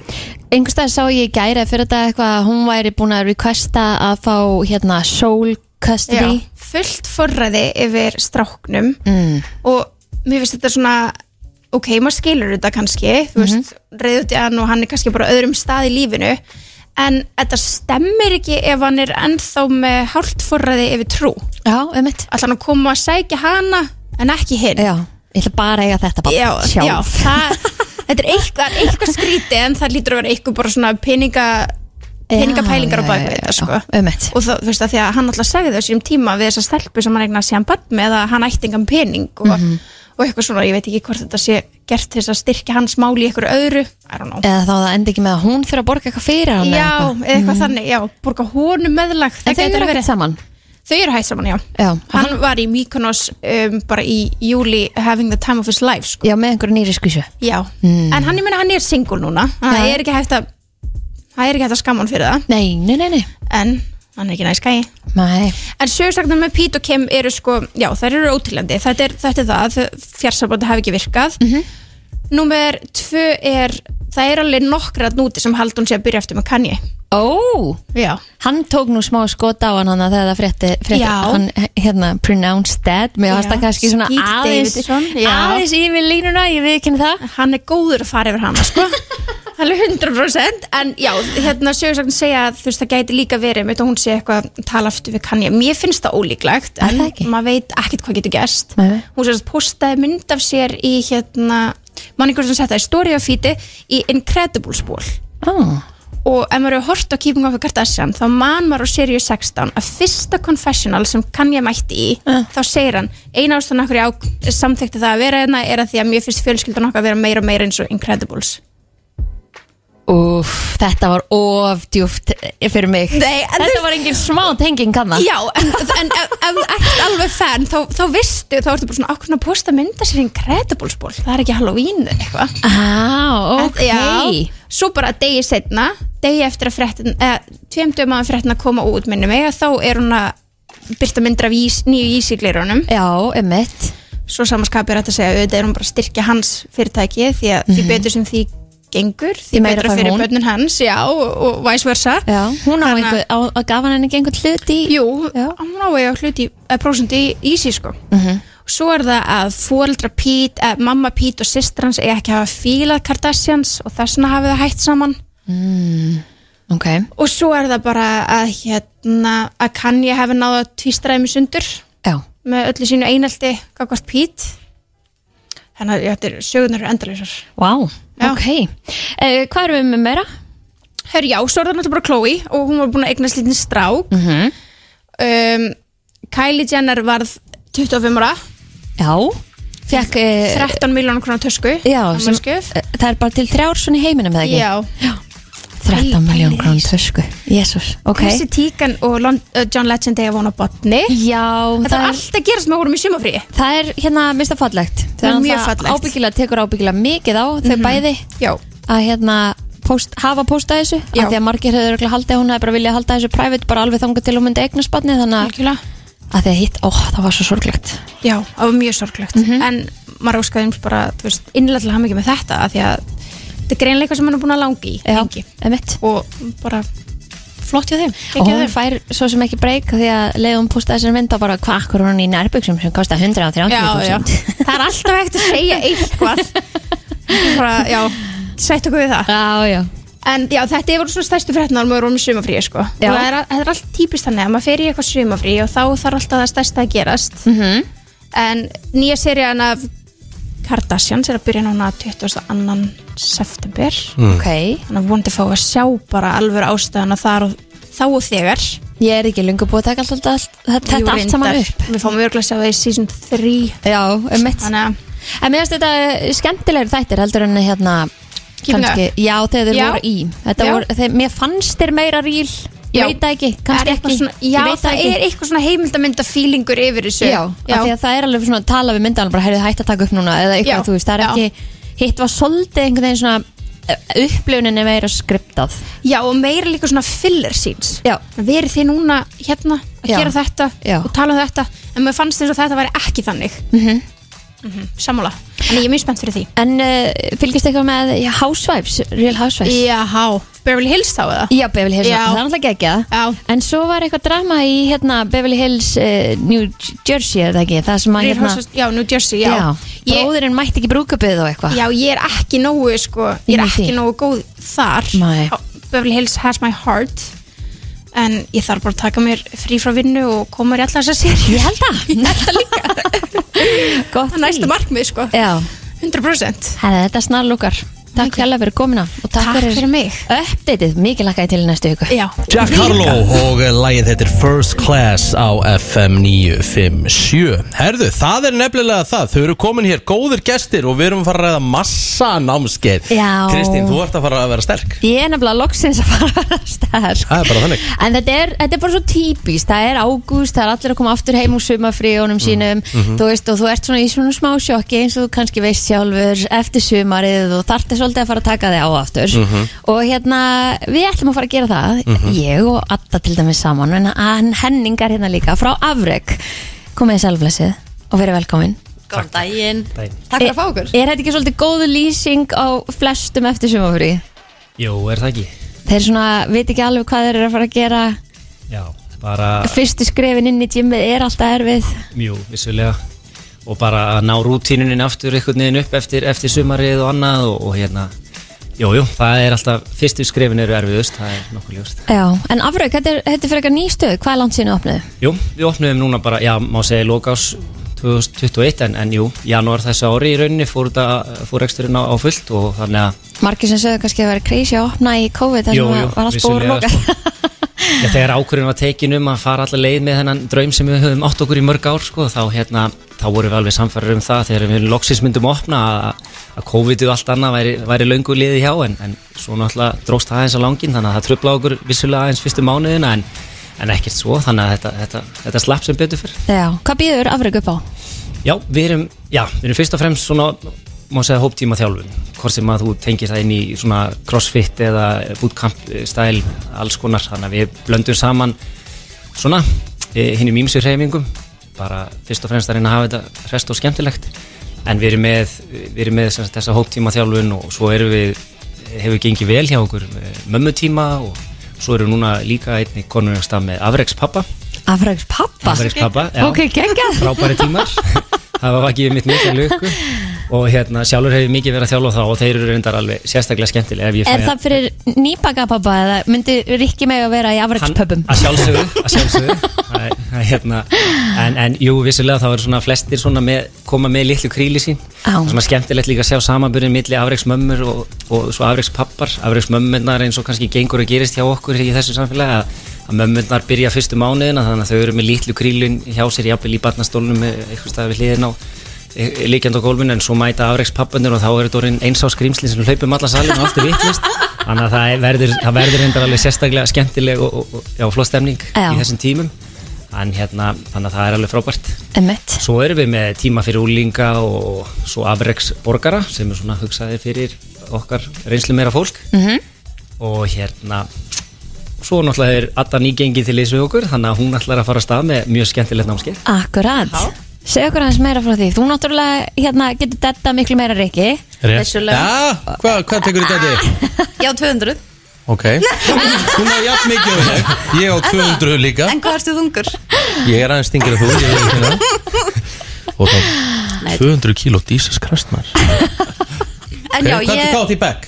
C: einhvers staðar sá ég í gæri fyrir þetta eitthvað að hún væri búin að requesta að fá hérna soul
I: já,
C: custody
I: fullt forræði yfir stráknum
C: mm.
I: og mér finnst þetta svona ok, maður skilur þetta kannski þú veist,
C: Mhm.
I: reyðu út í hann og hann er kannski bara á öðrum stað í lífinu en þetta stemmir ekki ef hann er ennþá með hálft forræði yfir trú
C: Já, einmitt
I: allan að koma að sækja hana en ekki hinn
C: Já, ég ætla bara að eiga þetta bara
I: já, já það, þetta er eitthvað, eitthvað skríti en það lítur að vera eitthvað bara svona peninga peningapælingar á bak við þetta, sko.
C: Einmitt
I: og það, þú veist að því að hann alltaf sagði það á sínum tíma við þessa stelpu sem hann eignaði síðan bann með að hann ætti engan pening og,
C: Mhm.
I: og eitthvað svona, ég veit ekki hvort þetta sé gert til þess að styrkja hans máli í eitthvað öðru I don't know
C: Eða þá að það endi ekki með að hún fyrir að borga eitthvað fyrir hann eða
I: Já,
C: eitthvað. Mhm.
I: eða eitthvað þannig, já, borga honum meðlag það
C: En þau
I: gæti
C: eru
I: verið-
C: ekkert saman
I: Þau eru hægt saman, já
C: Já,
I: Hann var í Mykonos um, bara í júli having the time of his life, sko
C: já með einhverju nýri skvísu
I: Já, en hann, ég meina, hann er single núna Það
C: Já.
I: er ekki hægt að Það er ekki hægt að skamma hann fyrir það
C: Nei, nei, nei, nei
I: En hann er ekki næskæi
C: Nei,
I: En sögursagnar með Pete og Kim eru sko, já þær eru ótilandi, þetta er, þetta er það að fjarsambandi hafi ekki virkað. Mm
C: Mhm.
I: Númer tvö er, það er alveg nokkra núti sem Haldun sé að byrja eftir með Kanye.
C: ó
I: Já.
C: Hann tók nú smá skot á hann hana þegar það frétti, frétti
I: Já.
C: hann hérna pronounced dead mér varst það
I: Já,
C: kannski svona
I: Skeet
C: aðeins
I: Davidson, já.
C: aðeins yfir línuna, ég viðkynna það
I: Hann er góður að fara yfir hana sko, alveg 100% en já, hérna sögursagnar segja að þú veist það gæti líka verið með að hún sé eitthvað að tala aftur við Kanye. Mér finnst það ólíklegt
C: Er það
I: en
C: ekki?
I: maður veit ekkert hvað getur gerst.
C: Nei, nei.
I: hún sérst postaði mynd af sér í hérna, manningur sem setja í story á feedi í Incredibles ból
C: oh.
I: og ef maður hefur hort á Keeping Up with Kardashian þá man maður á seríu 16 að fyrsta confessional sem kann ég mætti í þá segir hann, eina ástæðan okkur ég samþekti það að vera hérna er að því að mér finnst fjölskyldan okkar að vera meira og meira eins og Incredibles
C: Úf, þetta var of djúft fyrir mig
I: Nei, en
C: Þetta
I: þú-
C: var engin smá tenging kann það
I: Já, en, en ef ef þú ert alveg fan þá, þá vistu, þá ertu bara svona okkur að posta mynda sér í Incredibles ból það er ekki Halloween eða eitthvað
C: ah, ok
I: Já, svo bara degi setna degi eftir að fréttin eh, tveim dögum að fréttin að koma út minni mig að þá er hún að byrta myndir af ís, nýju ísiglirunum
C: Já, emitt
I: svo samanskapir að þetta segja auðvitað er hún bara að styrkja hans fyrirtæki því að því betur sem því gengur
C: Mhm.
I: því
C: Því meira
I: betra
C: fær
I: fyrir
C: hún.
I: börnun hans já, og, og vice versa
C: Já, hún á
I: Þannig að-
C: einhver, á, að gaf hann henni ekki einhvern hlut í
I: Jú,
C: Já. Mhm.
I: hún á eiga hluti eða prósundi í ísi sko Svo er það að fóreldra Pít eh, mamma Pít og systir hans eiga ekki að hafa fílað Kardashians og þess vegna hafið það hætt saman
C: Ok,
I: og svo er það bara að hérna, að Kanye hefur náða tvístræmi sundur
C: já,
I: með öllu sínu einaldi gagvart Pít þannig að þetta er sögurnar eru endalausar
C: wow,
I: Já.
C: ok uh, Hvað erum við með meira?
I: Hörru já, svo er það náttúrulega bara Chloe og hún var búin að eignast lítinn strák
C: Mhm.
I: um, Kylie Jenner varð 25 ára,
C: Já, fekk uh,
I: 13 miljónar krónar tösku
C: Já, sem- eh,
I: afmælisgjöf.
C: það er bara til þrjár svona í heiminum eða ekki?
I: já
C: 13
I: Pæli-
C: miljón
I: pæli
C: krón
I: því.
C: tösku Jésús, ok
I: Chrissy Teigen og Lon uh, John Legend eiga vona botni
C: Já,
I: Þetta
C: það
I: er
C: er,
I: allt að gerast með vorum í sumafríi
C: það er hérna mista fallegt
I: Það er
C: Þannig
I: mjög
C: að
I: fallegt. Mhm.
C: Ábyggilega tekur ábyggilega mikið á þau bæði
I: Já,
C: að hérna post, hafa postað þessu
I: Já.
C: af því að margir hefur örugglega haldið að hún hefði bara viljað halda þessu private bara alveg þangað til hún myndi eignasbarni þannig að,
I: algjörlega
C: að því að hitt, ó, það var svo sorglegt
I: Já, það var mjög sorglegt En maður óskaði um bara, þú veist, innlega til hann ekki með þetta af Því að þetta er greinlega eitthvað sem hann er búin að langa í lengi.
C: emitt
I: Og bara flott hjá þeim
C: og
I: geggjað
C: hún
I: þeim.
C: fær svo sem ekki breyk því að leið hún postaði þessar mynd og bara hvað, hvað er hún í nærbuksum sem kostar 130.000
I: Já, já Það er alltaf hægt að segja eitthvað bara, Já, sætt okkur við það
C: já, já,
I: En já, þetta voru svona stærstu fréttnar maður vorum í sumafríi, sko
C: Já.
I: Og það er, það er allt típist þannig að maður fer í eitthvað sumafríi og þá þarf alltaf það stærsta að gerast
C: Mhm.
I: En nýja serían af Kardashians er að byrja núna 22. september
C: ok
I: þannig að vonandi fá að sjá bara alveg ástæðuna þar og þá og þegar
C: ég er ekki lungu búið að taka alltaf allt, allt,
I: Jú,
C: þetta allt
I: reyndar.
C: saman upp
I: Við fáum örgulega að sjá það í season 3
C: já, emitt
I: Þannig að
C: En mér finnst þetta skemmtilegri þættir heldur en hérna
I: Keeping
C: já þegar þeir
I: Já.
C: voru í Þetta
I: Já.
C: voru, þeir, mér fannst þeir meira ríl
I: Já.
C: ég veit það ekki, kannski
I: er eitthvað
C: ekki
I: svona, Já,
C: ég veit
I: það
C: ekki.
I: er eitthvað svona heimildamynda fílingur yfir þessu
C: já, já. Af því að það er alveg svona að tala við myndan bara heyrðu hætt að taka upp núna eða eitthvað
I: Já.
C: þú veist, það er
I: Já.
C: ekki hitt var svolítið einhvern veginn svona eh, upplifunin er meira skriptað
I: Já, og meira líka svona filler scenes
C: Já.
I: Verið þið núna hérna að
C: Já.
I: gera þetta
C: Já.
I: og tala um þetta en maður fannst eins og þetta væri ekki þannig
C: Mhm.
J: sammála Þannig ég er mjög spennt fyrir því
C: En uh, fylgist eitthvað með já, Housewives, Real Housewives
J: Jáhá, Beverly Hills þá eða?
C: Já, Beverly Hills,
J: Já.
C: það er náttúrulega ekki
J: Já.
C: En svo var eitthvað drama í hérna, Beverly Hills, uh, New Jersey er það ekki, það sem að
J: Real
C: hérna,
J: Housewives- Já, New Jersey, já,
C: já,
J: Ég,
C: bróðurinn mætti ekki brúkaböð og eitthvað
J: já, ég er ekki nógu sko, ég er
C: Inn í
J: ekki
C: því.
J: nógu góð þar
C: Nei.
J: Á- Beverly Hills has my heart En ég þarf bara að taka mér frí frá vinnu og koma mér í allar þessar sér
C: Ég held það, næsta líka Gott
J: Það er næsta markmið sko,
C: Já,
J: 100%
C: Herra, þetta snarlúkar Takk hérlega fyrir komina og takk,
J: Takk fyrir mig
C: uppdatið, mikið lakkaði til í næstu viku
J: Já,
D: Jack Harlow og eh, lagið heitir First Class á FM 957 Herðu, það er nefnilega það Þau eru komin hér góðir gestir og við erum að fara að ræða massa námskeið
C: Já.
D: Kristín, þú ert að fara að vera sterk
C: Ég er nefnilega loksins að fara að vera sko. sterk
D: Það er bara þannig.
C: En þetta er, þetta er bara svo típist Það er ágúst, það er allir að koma aftur heim úr sumafríunum sínum Þú veist, og þú ert svona í svona smá sjokki eins og þú kannski veist sjálfur eftir sumarið og þarfti svolítið að fara að taka þig á aftur Og hérna, við ætlum að fara að gera það Ég og Adda til dæmis saman En hann henningar hérna líka frá Afrek Komið í sælflessið og verið velkomin
H: Góðan daginn. Takk fyrir að fá okkur.
C: Er þetta ekki svolítið góð lýsing á flestum eftir sumafríð?
I: Jú, er það ekki?
C: Þeir svona veit ekki alveg hvað þeir eru að fara að gera
I: Já, bara,
C: Fyrstu skrefin inn í gymmið er alltaf erfið
I: jú, vissulega og bara að ná rútínunin aftur einhvern veginn upp eftir, eftir sumarið og annað og, og hérna, jú, jú, það er alltaf fyrstu skrifin eru erfiðust, það er nokkuð ljóst
C: Já, en afraug, þetta er, þetta er fyrir eitthvað ný stöð Hvað er langt síðan opnið?
I: Jú, við opnum núna bara, já, má segja lokás 2021, en, en jú, janúar þessu ári í rauninni fór, þetta- fór eksturinn á, á fullt og þannig að
C: Margir sem sögðu kannski að vera crazy að opna í COVID
I: Jú,
C: Þannig
I: jú,
C: að var allt búið
I: vissulega, sko.
C: lokað
I: Já, þegar ákvörðin var tekin um að fara allar leið með þennan draum sem við höfum átt okkur í mörg ár sko, þá, hérna, þá vorum við alveg samfærir um það þegar við loksins myndum opna að, að COVID og allt annað væri, væri löngu liði hjá en, en svo náttúrulega dróst það aðeins á langin þannig að það tröfla okkur vissulega aðeins fyrstu mánuðina en, en ekkert svo þannig að þetta, þetta, þetta slapp sem betur fyrr
C: Já, hvað býður afraug upp á?
I: Já, við erum, já, við erum fyrst og fremst svona, má segja, hóptíma þjálfun hvort sem að þú tengir það inn í svona crossfit eða bootcamp eh, stæl alls konar, þannig að við blöndum saman svona eh, hinn í mýmsu hreyfingum bara fyrst og fremst að reyna að hafa þetta rest og skemmtilegt en við erum með, við erum með sem sagt, þessa hóptíma þjálfun og svo erum við hefur gengið vel hjá okkur eh, mömmutíma og svo erum við núna líka einni konunjastaf með Afreks pappa
C: Afraugs pappa?
I: Afreks pappa, já
C: Ok, geggjað
I: frábæri tímar það var ekki mitt mikið lukku og hérna sjálfur hefur mikið verið að þjálfa þá og þeir eru reyndar alveg sérstaklega skemmtilega ef ég fæ
C: Er það fyrir nýpaka pappa eða myndi Rikki mig að vera í
I: Hann-
C: afraugspöpum?
I: að sjálfsögðu, að sjálfsögðu. Það er- það er hérna, en, en jú, vissulega þá eru svona flestir svona með, koma með litlu kríli sín
C: Á.
I: svona skemmtilegt líka að sjá samanbyrðin milli afreiksmömmur og, og svo afreikspappar afreiksmömmunar eins og kannski gengur og gerist hjá okkur í þessu samfélagi að, að mömmunar byrja fyrstu mánuðina þannig að þau eru með litlu krílin hjá sér jafnvel í barnastólnum eh, eitthvað staðar við hliðin á eh, liggjandi á gólfinu en svo mæta afreikspappandir og þá er þetta orðin eins á skrýmslin sem hlaupum alla salin og allt er vittlist þannig að það verður, það verður reyndar alveg sérstaklega skemmtileg og, og, og já, flott stemning
C: Já.
I: í þessum tímum en hérna, þannig að það er alveg frábært
C: Emmett
I: Svo erum við með tíma fyrir úlinga og svo afreiksborgara sem er svona hugsaði fyrir okkar reynslu meira fólk
C: Mm. Mhm.
I: -hmm. og hérna svo náttúrulega er Adda nýgengið til leys við okkur þannig að hún ætlar að fara af stað með mjög skemmtilegt námskeið
C: Akkurat Segðu okkur aðeins meira frá því Þú náttúrulega hérna, getur detta miklu meira Rikki
H: Vissulega.
D: Já, hvað, hvað tekur þetta í?
H: Já, 200.
D: Ok Hún er jafn mikið um þig Ég á 200 líka
H: En hvað erstu þungur?
D: Ég er aðeins stingir að þú ég veit hérna. Og þá 200 kíló dísas krastnar
H: En
D: okay.
H: já,
D: Hvað er
H: ég...
D: kátt í bekk?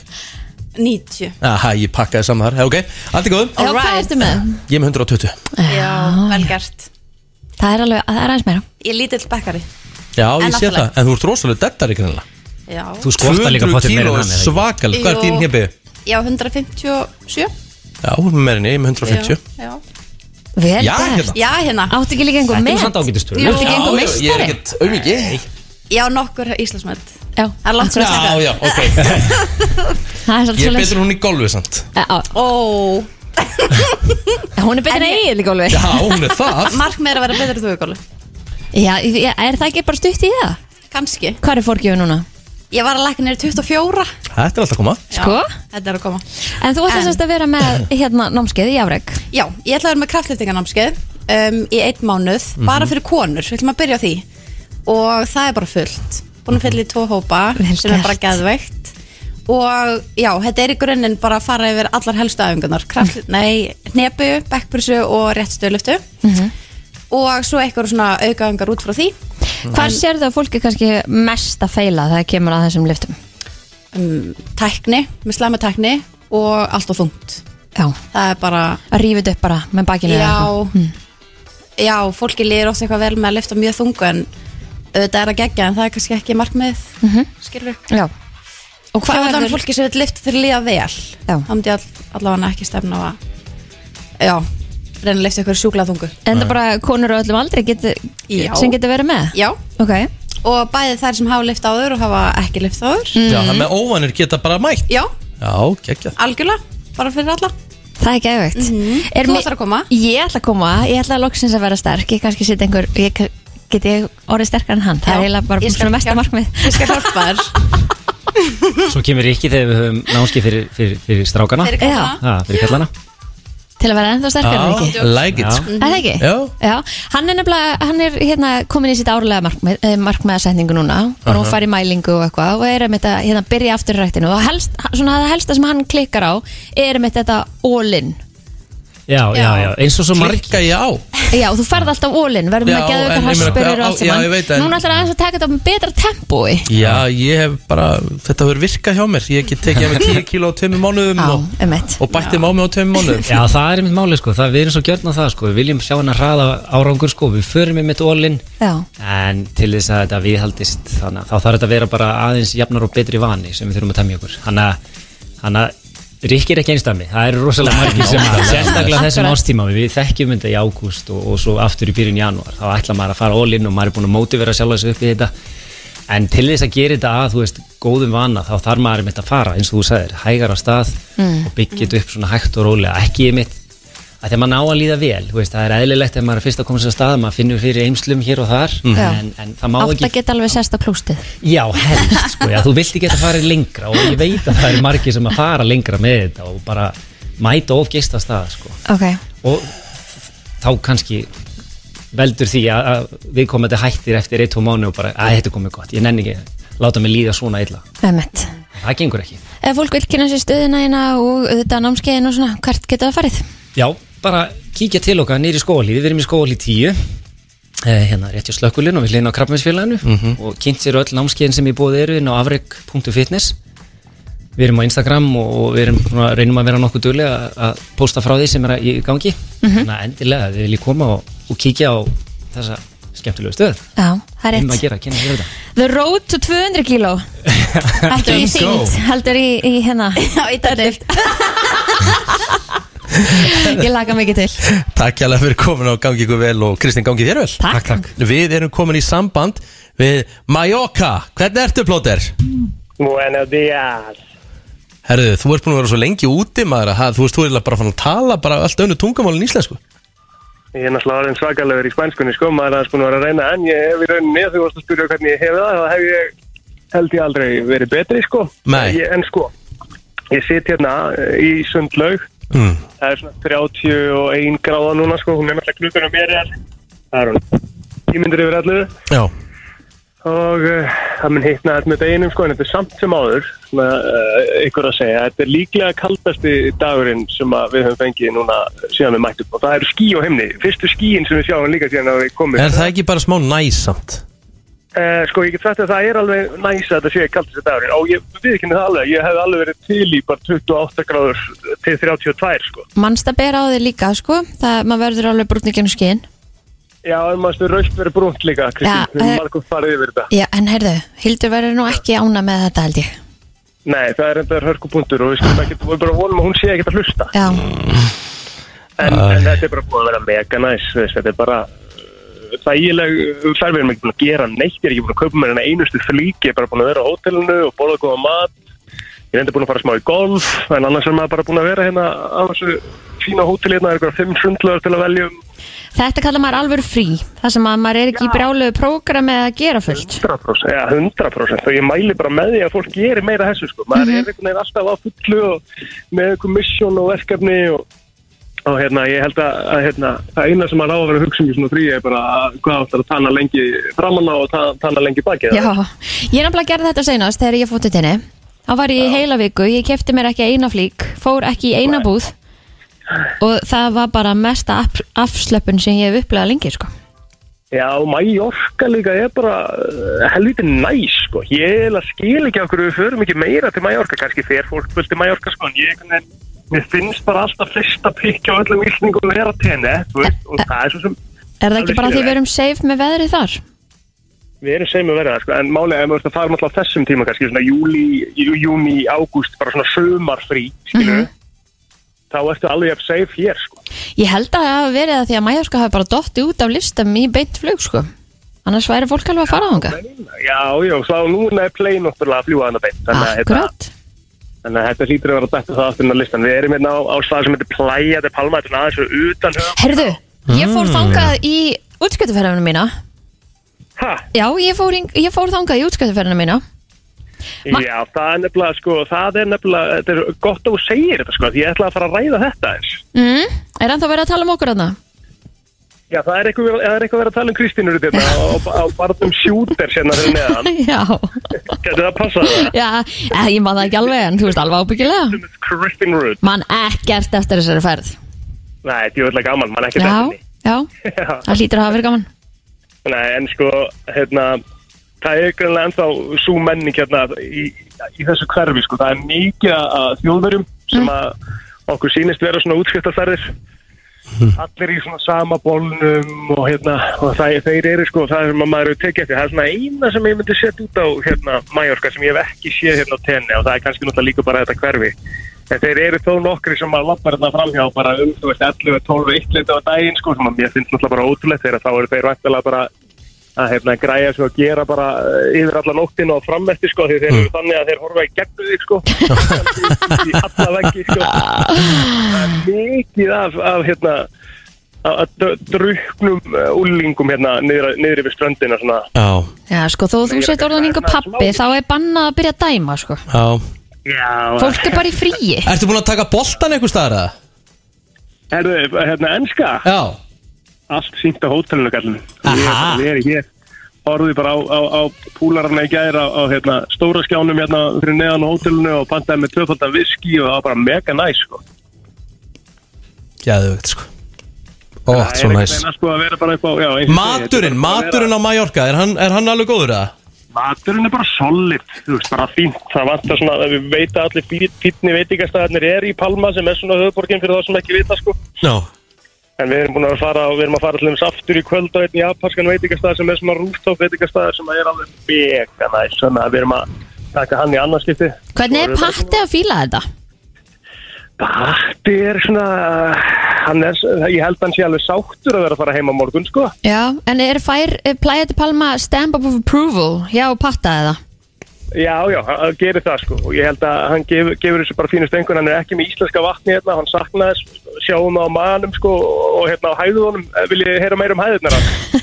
H: 90.
D: Aha, ég pakkaði saman þar, ok, allt í góðum
C: Já, hvað
H: Alright.
C: ertu með?
D: Ég er með 120
H: Já, vel gert.
C: Það er alveg, það er aðeins meira
H: Ég er lítill bekkari.
D: Já, ég sé
H: náttúrulega.
D: það, en þú ert rosalega dettari greinlega
H: Já.
I: Þú skortar líka pottir meira en hann eða ekki?
D: svakalega, hvað er þín
H: Jú.
D: hebi?
H: Já, 157.
D: Já, hún er meira en ég, ég er með
H: Já,
D: 150
H: já.
C: Vel
D: Já,
C: gert.
D: hérna.
H: já, hérna.
C: Áttu ekki líka einhver
I: Þetta
C: með?
I: er samt ágætistölu.
C: Áttu ekki einhver
D: Já, já, Ég er
C: meistari?
D: ekkert auðviki
H: Já, nokkur Íslandsmönd.
C: Já,
H: Það er langt sér að
D: Já,
H: stekka.
D: já, ok
C: það er
D: Ég er
C: svolítið svolítið
D: betur en hún í golfi samt
C: Já,
H: Ó,
C: Hún er betur
H: En
C: en
H: ég-
C: eigið líka alveg
D: Já, hún er það
H: markmið er að vera betur en þú í gólu.
C: Já, ég- er það ekki bara stutt í það?
H: Kanski.
C: Hvað er fórgjöfu núna?
H: Ég var að lækna neyri 24.
D: Þetta er alltaf að koma
C: Sko?
H: Já, þetta er að koma.
C: En þú ætti
H: En-
C: semst að vera með hérna námskeið í afreg
H: Já, ég ætla að vera með kraftlýftingarnámskeið um, í einn mánuð, bara fyrir konur, við ætlum að byrja á því
K: og það er bara fullt búin að fylla í tvo hópa sem er bara geðveikt og já, þetta er í grunninn bara að fara yfir allar helstu æfingunar
H: Mhm.
K: kraft, nei, hnepu, backpressu og réttstöðluftu
H: Mhm.
K: og svo eitthvað svona aukaðingar út frá því
C: Hvað sérðu að fólki kannski mest að feila þegar kemur að þessum lyftum?
K: um, tækni, með slæma tækni og allt og þungt
C: Já.
K: það er bara
C: Að rífið upp bara með bakinu eða
K: Já.
C: eitthvað? Mm.
K: já, fólki lýr oft eitthvað vel með að lifta mjög þungu en auðvitað er að gegja en það er kannski ekki markmið mm -hmm. skilur
C: Já. Og
K: hvað
C: hvað
K: er
C: Mhm. verður-
K: það fólki sem vil lifta þegar líða vel
C: Já.
K: þá myndi ég all, allavega ekki stefna á að já, reyna að lifta ykkur sjúkla þungu
C: En það bara konur á öllum aldrei geti,
K: Já.
C: sem getur verið með?
K: já,
C: okay.
K: og bæði þær sem hafa lift áður og hafa ekki lift áður
D: Já, það með óvanir geta bara mætt
K: já,
D: Já, geggjað
K: algjörlega, bara fyrir alla
C: Það er geðveikt mm -hmm.
K: Mhm. Þú ætlar að koma?
C: Ég ætla að koma, ég ætla að loksins að vera sterk Ég kannski setja einhver, ég ka- get ég orðið sterkar en hann Það er eiginlega bara
K: ég skal
C: svona mesta markmið
K: Ég skal hjálpa þér
I: Svo kemur ekki þegar við höfum námski fyrir, fyrir, fyrir strákana
C: Fyrir kallana.
I: Já, fyrir kallana
C: Til að vera ennþá sterkar en ekki
I: Já, like it.
C: Er Það ekki?
I: Já.
C: Hann er nefnilega, hann er hérna komin í sitt árlega markmið, eh, markmiðasetningu núna og hún
L: Aha.
C: fær í mælingu og eitthvað og er með þetta, hérna byrja aftur í ræktinu og helst, svona það helsta sem hann klikkar á er með þetta all-in
I: Já, já, já, eins og svo marg Klikka
D: ég á
C: Já, þú ferð alltaf all-in, verður með
D: Já,
C: að geða
D: en
C: ykkur
D: ég meina,
C: harspyrir og
D: á-
C: allt
D: já,
C: saman
D: ég veit, en-
C: Núna ætlar aðeins að taka þetta með betra tempói
D: Já, ég hef bara, þetta hefur virkað hjá mér Ég get tekið með 10 kíló á tveimur mánuðum og,
C: emitt
D: og bætti mámi á tveimur mánuðum
I: Já, það er mitt máli sko, það, við erum svo gjörn á það sko Við viljum sjá hennar hraða árangur sko Við förum með mitt ólinn
C: Já,
I: En til þess að þetta viðhaldist þannig, að þá þarf þetta að vera bara aðeins jafnar og betri vani sem við þurfum að temja okkur Þannig að- þannig að Rikki er ekki einstami, það eru rosalega margir sem
D: Nákvæmlega.
I: sérstaklega á þessum
D: Akkurat.
I: ástíma við þekkjum þetta í ágúst og, og svo aftur í byrjun janúar þá ætla maður að fara all-in og maður er búin að mótivera sjálf þessu upp í þetta en til þess að gera þetta að þú veist góðum vana þá þarf maður einmitt að fara eins og þú sagðir, hægar á stað
M: Mm.
I: og byggja þetta upp svona hægt og rólega ekki einmitt að þegar maður ná að líða vel þú veist, það er eðlilegt ef maður er fyrst að koma sér að stað maður finnur fyrir eimslum hér og þar
C: Já.
I: en, en það má
C: átt að
I: ekki
C: geta alveg sérst á klústið
I: Já, helst, sko, já, þú vilt ekki að fara lengra og ég veit að það eru margir sem að fara lengra með þetta og bara mæta of geist að staða, sko
C: Ok,
I: og þá kannski veldur því að, að við komandi hættir eftir eitt og mánu og bara, að þetta er komið gott, ég nenni ekki láta mig líða svona illa,
C: emitt
I: það gengur ekki
C: Ef fólk vil kynna sér stöðina hérna og auðvitað námskeiðin og svona, hvert getur það farið?
I: Já, bara kíkja til okkar nýri skóvalíð, við erum í skóvalíð 10 eh, hérna rétt hjá slökkulinn og við hlýðum á krabbaminsfélaginu og kynnt sér öll námskeiðin sem í bóði eru inn á afreg.fitness við erum á Instagram og og við erum búin að reynum að vera nokkuð duglega að- að posta frá því sem er að- í gangi
C: Mhm.
I: þannig að endilega við viljum koma og, og kíkja á þessa skemmtilegu stöð
C: Já, það er
I: um að
C: rétt
I: gera, kynna sér þetta
C: The road to 200 kíló Heldur í
I: Let's go.
C: þýnd, heldur í, í hérna Já, í dælift Ég laga mikið til
D: Takk hérlega fyrir komin og gangi ykkur vel og Kristinn gangi þér vel
C: Takk.
I: takk,
D: Við erum komin í samband við Majoka Hvernig ertu plóter?
N: Buenos días.
D: Herðu, þú ert búin að vera svo lengi úti maður að ha- þú veist, þú er eiginlega bara fann að tala bara allt önnu tungumálinn íslensku
N: Ég er náttúrulega orðin svakalegur í spænskunni sko, maður er aðeins búin að vera að reyna en ég hef í rauninni, þú varst að spyrja hvernig ég hef það, þá hef ég held ég aldrei verið betri sko.
D: Nei.
N: Ég, en sko, ég sit hérna eh, í sundlaug,
D: mm.
N: það er svona 31 gráða núna sko, hún er náttúrulega klukkunum mér er, það er hún, tímyndir yfir allir
D: Já
N: og uh, það mun hittna þetta með deginum sko, en þetta er samt sem áður, svona uh, ykkur að segja, þetta er líklega kaldasti dagurinn sem að við höfum fengið núna síðan við mættum og það eru skí á himni, fyrstu skíin sem við sjáum líka síðan að við komum.
D: Er það ekki bara smá næsamt?
N: Eh, sko ég get sagt að það er alveg næs að þetta sé kaldast í dagurinn og ég viðkynna það alveg, ég hef alveg verið til í bara 28 gráður til 32 sko.
C: Manst að bera á þig líka, sko Það, maður verður alveg brúningin og skinn
N: Já, en maður stu raust verið brúnt líka,
C: Já,
N: Kristín, við
C: eh,
N: erum margum farið yfir þetta.
C: Já, en heyrðu, Hildur verður nú ekki ána með þetta held ég
N: Nei, það er endar hörkupunktur og við skulum ekki, við bara vonum að hún sé ekki að hlusta.
C: Já,
N: en, en þetta er bara búið að vera mega næs þú veist, þetta er bara uh, þægileg ferð, við erum ekki búin að gera neitt ég er ekki búin að kaupa mér en einustu flík ég er bara búin að vera á hótelinu og borða góða mat ég er enda búin að fara smá í golf en annars er maður bara búin að vera hérna á þessu fína hóteli hérna, það er eitthvað fimm sundlöðar til að um. veljum
C: þetta kallar maður alvöru frí Það sem að maður er ekki í brjálugu prógrami að gera fullt
N: 100%, ja, 100% og ég mæli bara með því að fólk gerir meira af þessu sko. maður er einhvern veginn alltaf á fullu og með einhver misjón og verkefni og og hérna, ég held að, að hérna, það eina sem maður á að vera að hugsa um í svona frí er bara að hvað áttar að tana lengi framann á og ta- tana lengi baki
C: Já, ég nefnilega gerði þetta senast þegar ég fótt út henni þá var ég í heila viku, ég kefti mér ekki eina flík fór ekki í eina búð og það var bara mesta af, afslöpun sem ég hef upplegað lengi sko.
N: Já, Mallorca líka er bara uh, helviti næs, sko. Ég er að skil ekki okkur við förum ekki meira til Mallorca, kannski fer fólk fullt til Mallorca, sko, en ég einhvern veginn, mér finnst bara alltaf fyrsta pikki á öllum íslningum vera til henni, þú veist, og það er svo sem...
C: Er það ekki bara því við erum safe með veðrið þar?
N: Við erum segjum að vera það, sko, en málega, ef við veist að fara alltaf þessum tíma, kannski svona júli, jú- júni, ágúst, bara svona sömarfrí, skilu, þá ertu alveg að safe hér, sko.
C: Ég held að það hafi verið að því að Mallorca hafi bara dotti út af listam í beint flug sko. annars væri fólk alveg að fara á þanga
N: Já, já, svo núna er play náttúrulega að fljúa hana beint, þannig að... hérna,
C: Akkurat
N: Þannig að þetta hlýtur að vera dættu það aftur inn á listan. Við erum hérna á, á stað sem heitir Playa de Palma, þetta er aðeins fyrir utan höfum.
C: Herðu, ég fór
N: Mm.
C: þangað í útskjötuferðinu mína
N: Ha?
C: Já, ég fór, hing- ég fór þangað í útskjötuferðinu mína
N: Já, það er nefnilega, sko, það er nefnilega, þetta er gott að þú segir þetta, sko, því ég ætla að fara að ræða þetta eins.
C: mm, Er ennþá verið að tala um okkur þarna?
N: Já, það er eitthvað, það er eitthvað að vera að tala um Kristínur út hérna á, á barnum sjúter hérna fyrir neðan.
C: Já,
N: Getur það passað það?
C: já, eh, ég man það ekki alveg en þú veist alveg ábyggilega
N: Kristín Rudd.
C: Man ekkert eftir þessari ferð
N: Nei, þetta er öll gaman, mann ekki
C: Já, já, það hlýtur að hafa verið gaman
N: Nei, en sko, hérna, það er greinlega ennþá svo menning hérna í, í þessu hverfi, sko. Það er mikið að þjóðverjum sem að okkur sýnist vera svona útskiptaferðir. Allir í svona sama bólnum og hérna, og það, þeir eru sko, það sem að maður eru tekið eftir. Það er svona eina sem ég myndi setja út á hérna Mallorca sem ég hef ekki séð hérna á tenni og það er kannski náttúrulega líka bara þetta hverfi. En þeir eru þó nokkri sem að lappa hérna framhjá bara um, þú veist, 11, 12, 1 liti á daginn sko, sem að mér finnst náttúrulega bara ótrúlegt þegar þá eru þeir vantilega bara að hefna, græja svo að gera bara eh, yfir alla nóttin og fram eftir sko því þeir eru þannig að þeir horfa í gegnu þig sko í alla veggi sko Það er mikið af, af hérna af- af dr- druknum eh, úlingum hérna niður, niður yfir ströndina svona
D: Já,
C: Já, sko, þó þú sett orðan yngur pappi þá er bannað að byrja að dæma, sko
D: já
N: Já
C: Fólk er bara í fríi
D: Ertu búin að taka boltan einhver staðar eða?
N: Herðu, hérna enska
D: Já
N: Allt sínt á hótelinu kallinu Við erum hér Orðið bara á, á, á púlarna í gæra á, á hérna, stóra skjánum hérna fyrir neðan á hótelinu og pantaði með tvöfaldan viski og það var bara mega næs sko
D: Gæðugt sko Ó, svo næs
N: Það er einhvern veginn að sko að vera bara upp á já, eins og ég segi, þetta er
D: Maturinn,
N: bara að vera-
D: maturinn á Mallorca, er hann, er hann alveg góður eða?
N: Maturinn er bara solid, þú veist, bara fínt. Það vantar svona að við veit að allir fí- fínni veitingastæðarnir er í Palma sem er svona höfuborgin fyrir það sem ekki vita, sko.
D: Já
N: En við erum búin að fara og við erum að fara allir aftur í kvöld á einn japanskan veitingastæðar sem er svona rooftop veitingastæðar sem er alveg mega næst. Svona að við erum að taka hann í annarskipti.
C: Hvernig er patti að fíla þetta?
N: Patti er svona, hann er, ég held að hann sé alveg sáttur að vera að fara heima á morgun, sko.
C: Já, en er fær Plæði til Palma stamp of approval Já, patta eða?
N: Já, já, hann hann gerir það sko og ég held að hann gef, gefur þessu bara fínu stengun hann er ekki með íslenska vatni hérna, hann saknaði þess sjáum það á maðanum sko og hérna á hæðunum, vil ég heyra meira um hæðunar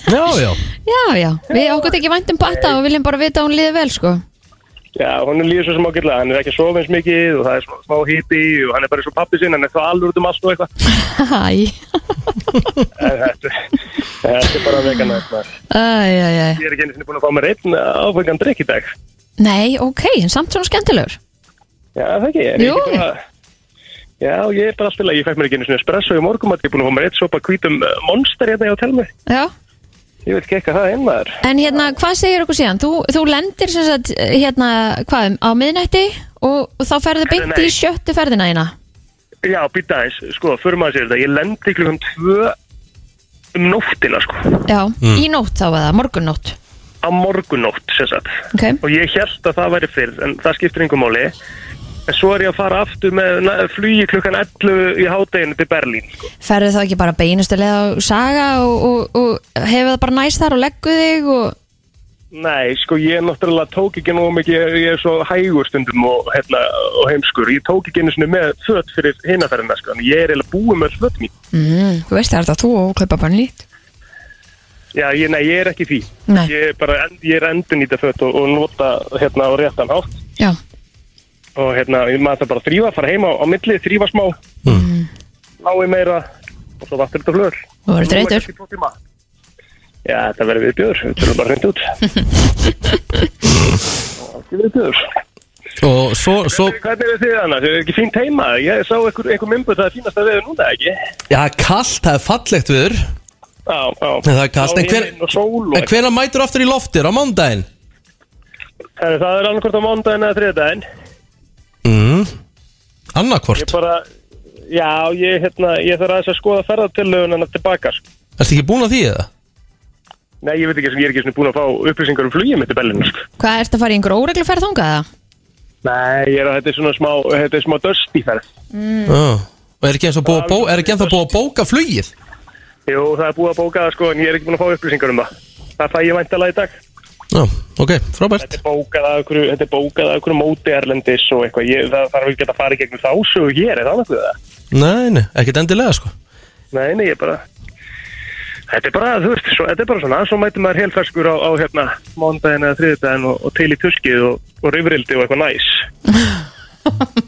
D: Já, já
C: Já, já, við okkur ekki vænt um patta og viljum bara vita að hún líði vel, sko
N: Já, hann er líður svo sem ágætlega, hann er ekki að sofa eins mikið og það er smá, smá hiti og hann er bara eins og pappi sinn, hann er það alveg út um allt og eitthvað
C: Æ,
N: En þetta, þetta er bara vegana Ég
C: æ, æ, æ
N: er ekki einu sinni búin að fá mér einn áfengan drikk í dag
C: Nei, ok, en samt svona skemmtilegur
N: Já, það ekki, er
C: Jú.
N: ekki bara Já, ég er bara alltaf, ég fekk mér ekki einu sinni espresso í morgum ég er búin að fá mér eitt sopa hvítum eh, monster hérna hjá Telmi
C: Já,
N: Ég vil gekka það inn maður.
C: en hérna, hvað segir okkur síðan? Þú, þú lendir sem sagt, hérna, hvað, á miðnætti og, og þá ferðu beint í
N: nei.
C: sjöttu ferðina þína
N: Já, býta eins, sko, förum að sér þetta. Ég lendi klukkan tvö um nóttina, sko,
C: Já,
N: Mm.
C: í nótt þá eða, morgunnótt
N: á morgunnótt, sem sagt.
C: Ok.
N: Og ég held að það væri fyrr, en það skiptir yngum máli. En svo er ég að fara aftur með na- flugi klukkan 11 í hádeginu til Berlín, sko.
C: ferðu þá ekki bara beinustu leið á saga og, og, og hefur það bara næst þar og leggu þig og
N: Nei, sko, ég náttúrulega tók ekki nóg mikið, ég- ég er svo hægur stundum og, hérna, og heimskur. Ég tók ekki einu sinni með fött fyrir hinaferðina, sko, en ég er eiginlega búið með fött mín.
C: mm, þú veist það er þetta þú og kaupa bara nýtt
N: Já, ég, nei, ég er ekki því.
C: Nei.
N: Ég er bara, en- ég er endurnýta fött og, og nota, hérna, á réttan hátt.
C: Já.
N: og hérna, maður þarf bara að þrýfa, fara heima á, á milli, þrýfa smá ná í meira og svo aftur þetta flöður
C: Þú verður þreytur.
N: Já, þetta verður viðbjör, við tölum bara hreint út Þetta er viðbjör
D: Og svo, svo
N: Hvernig er þið annars? Er ekki fínt heima? Ég sá einhver, einhver mymbu það er fínasta veður núna, ekki?
D: Já, kallt, það er fallegt viður
N: Já, já
D: En það er kallt, en hver
N: Sólin og sól og-
D: En hvenær mætur aftur í loftir á mándaginn?
N: Herri, Það er annarkvort á mándaginn eða þriðdaginn
D: Mm. Annarkvort
N: Ég bara, já, ég, hérna, ég þarf aðeins að skoða ferðartillögunana tilbaka sko.
D: Ertu ekki búin að því eða?
N: Nei, ég veit ekki sem ég er ekki svona búin að fá upplýsingar um flugið mitt í Berlín sko.
C: Hvað ertu að fara í einhver óregluferð þungað það?
N: Nei, ég er að þetta er svona smá, þetta er smá dörst í ferð
C: Mm.
D: Já. Og er ekki ennþá búið að bó- er ekki ennþá búið að bóka flugið?
N: Jú, það er búið að bóka það sko, en ég er ekki búin að fá upplýsingar um það Það fæ ég væntalega í dag
D: Já, ok, frábært
N: Þetta er bókað að okkur, þetta er bókað að okkur móti Erlendis og eitthvað ég, Það þarf ekki að fara í gegnum þá sögu hér, er það nokkuð það?
D: Nei, nei, ekkert endilega sko
N: Nei, nei, ég bara Þetta er bara, þú veist, svo, þetta er bara svona Svo mæti maður helferskur á, á hérna Mándaginn eða þriðdaginn og, og til í tuskið og, og rifrildi og eitthvað næs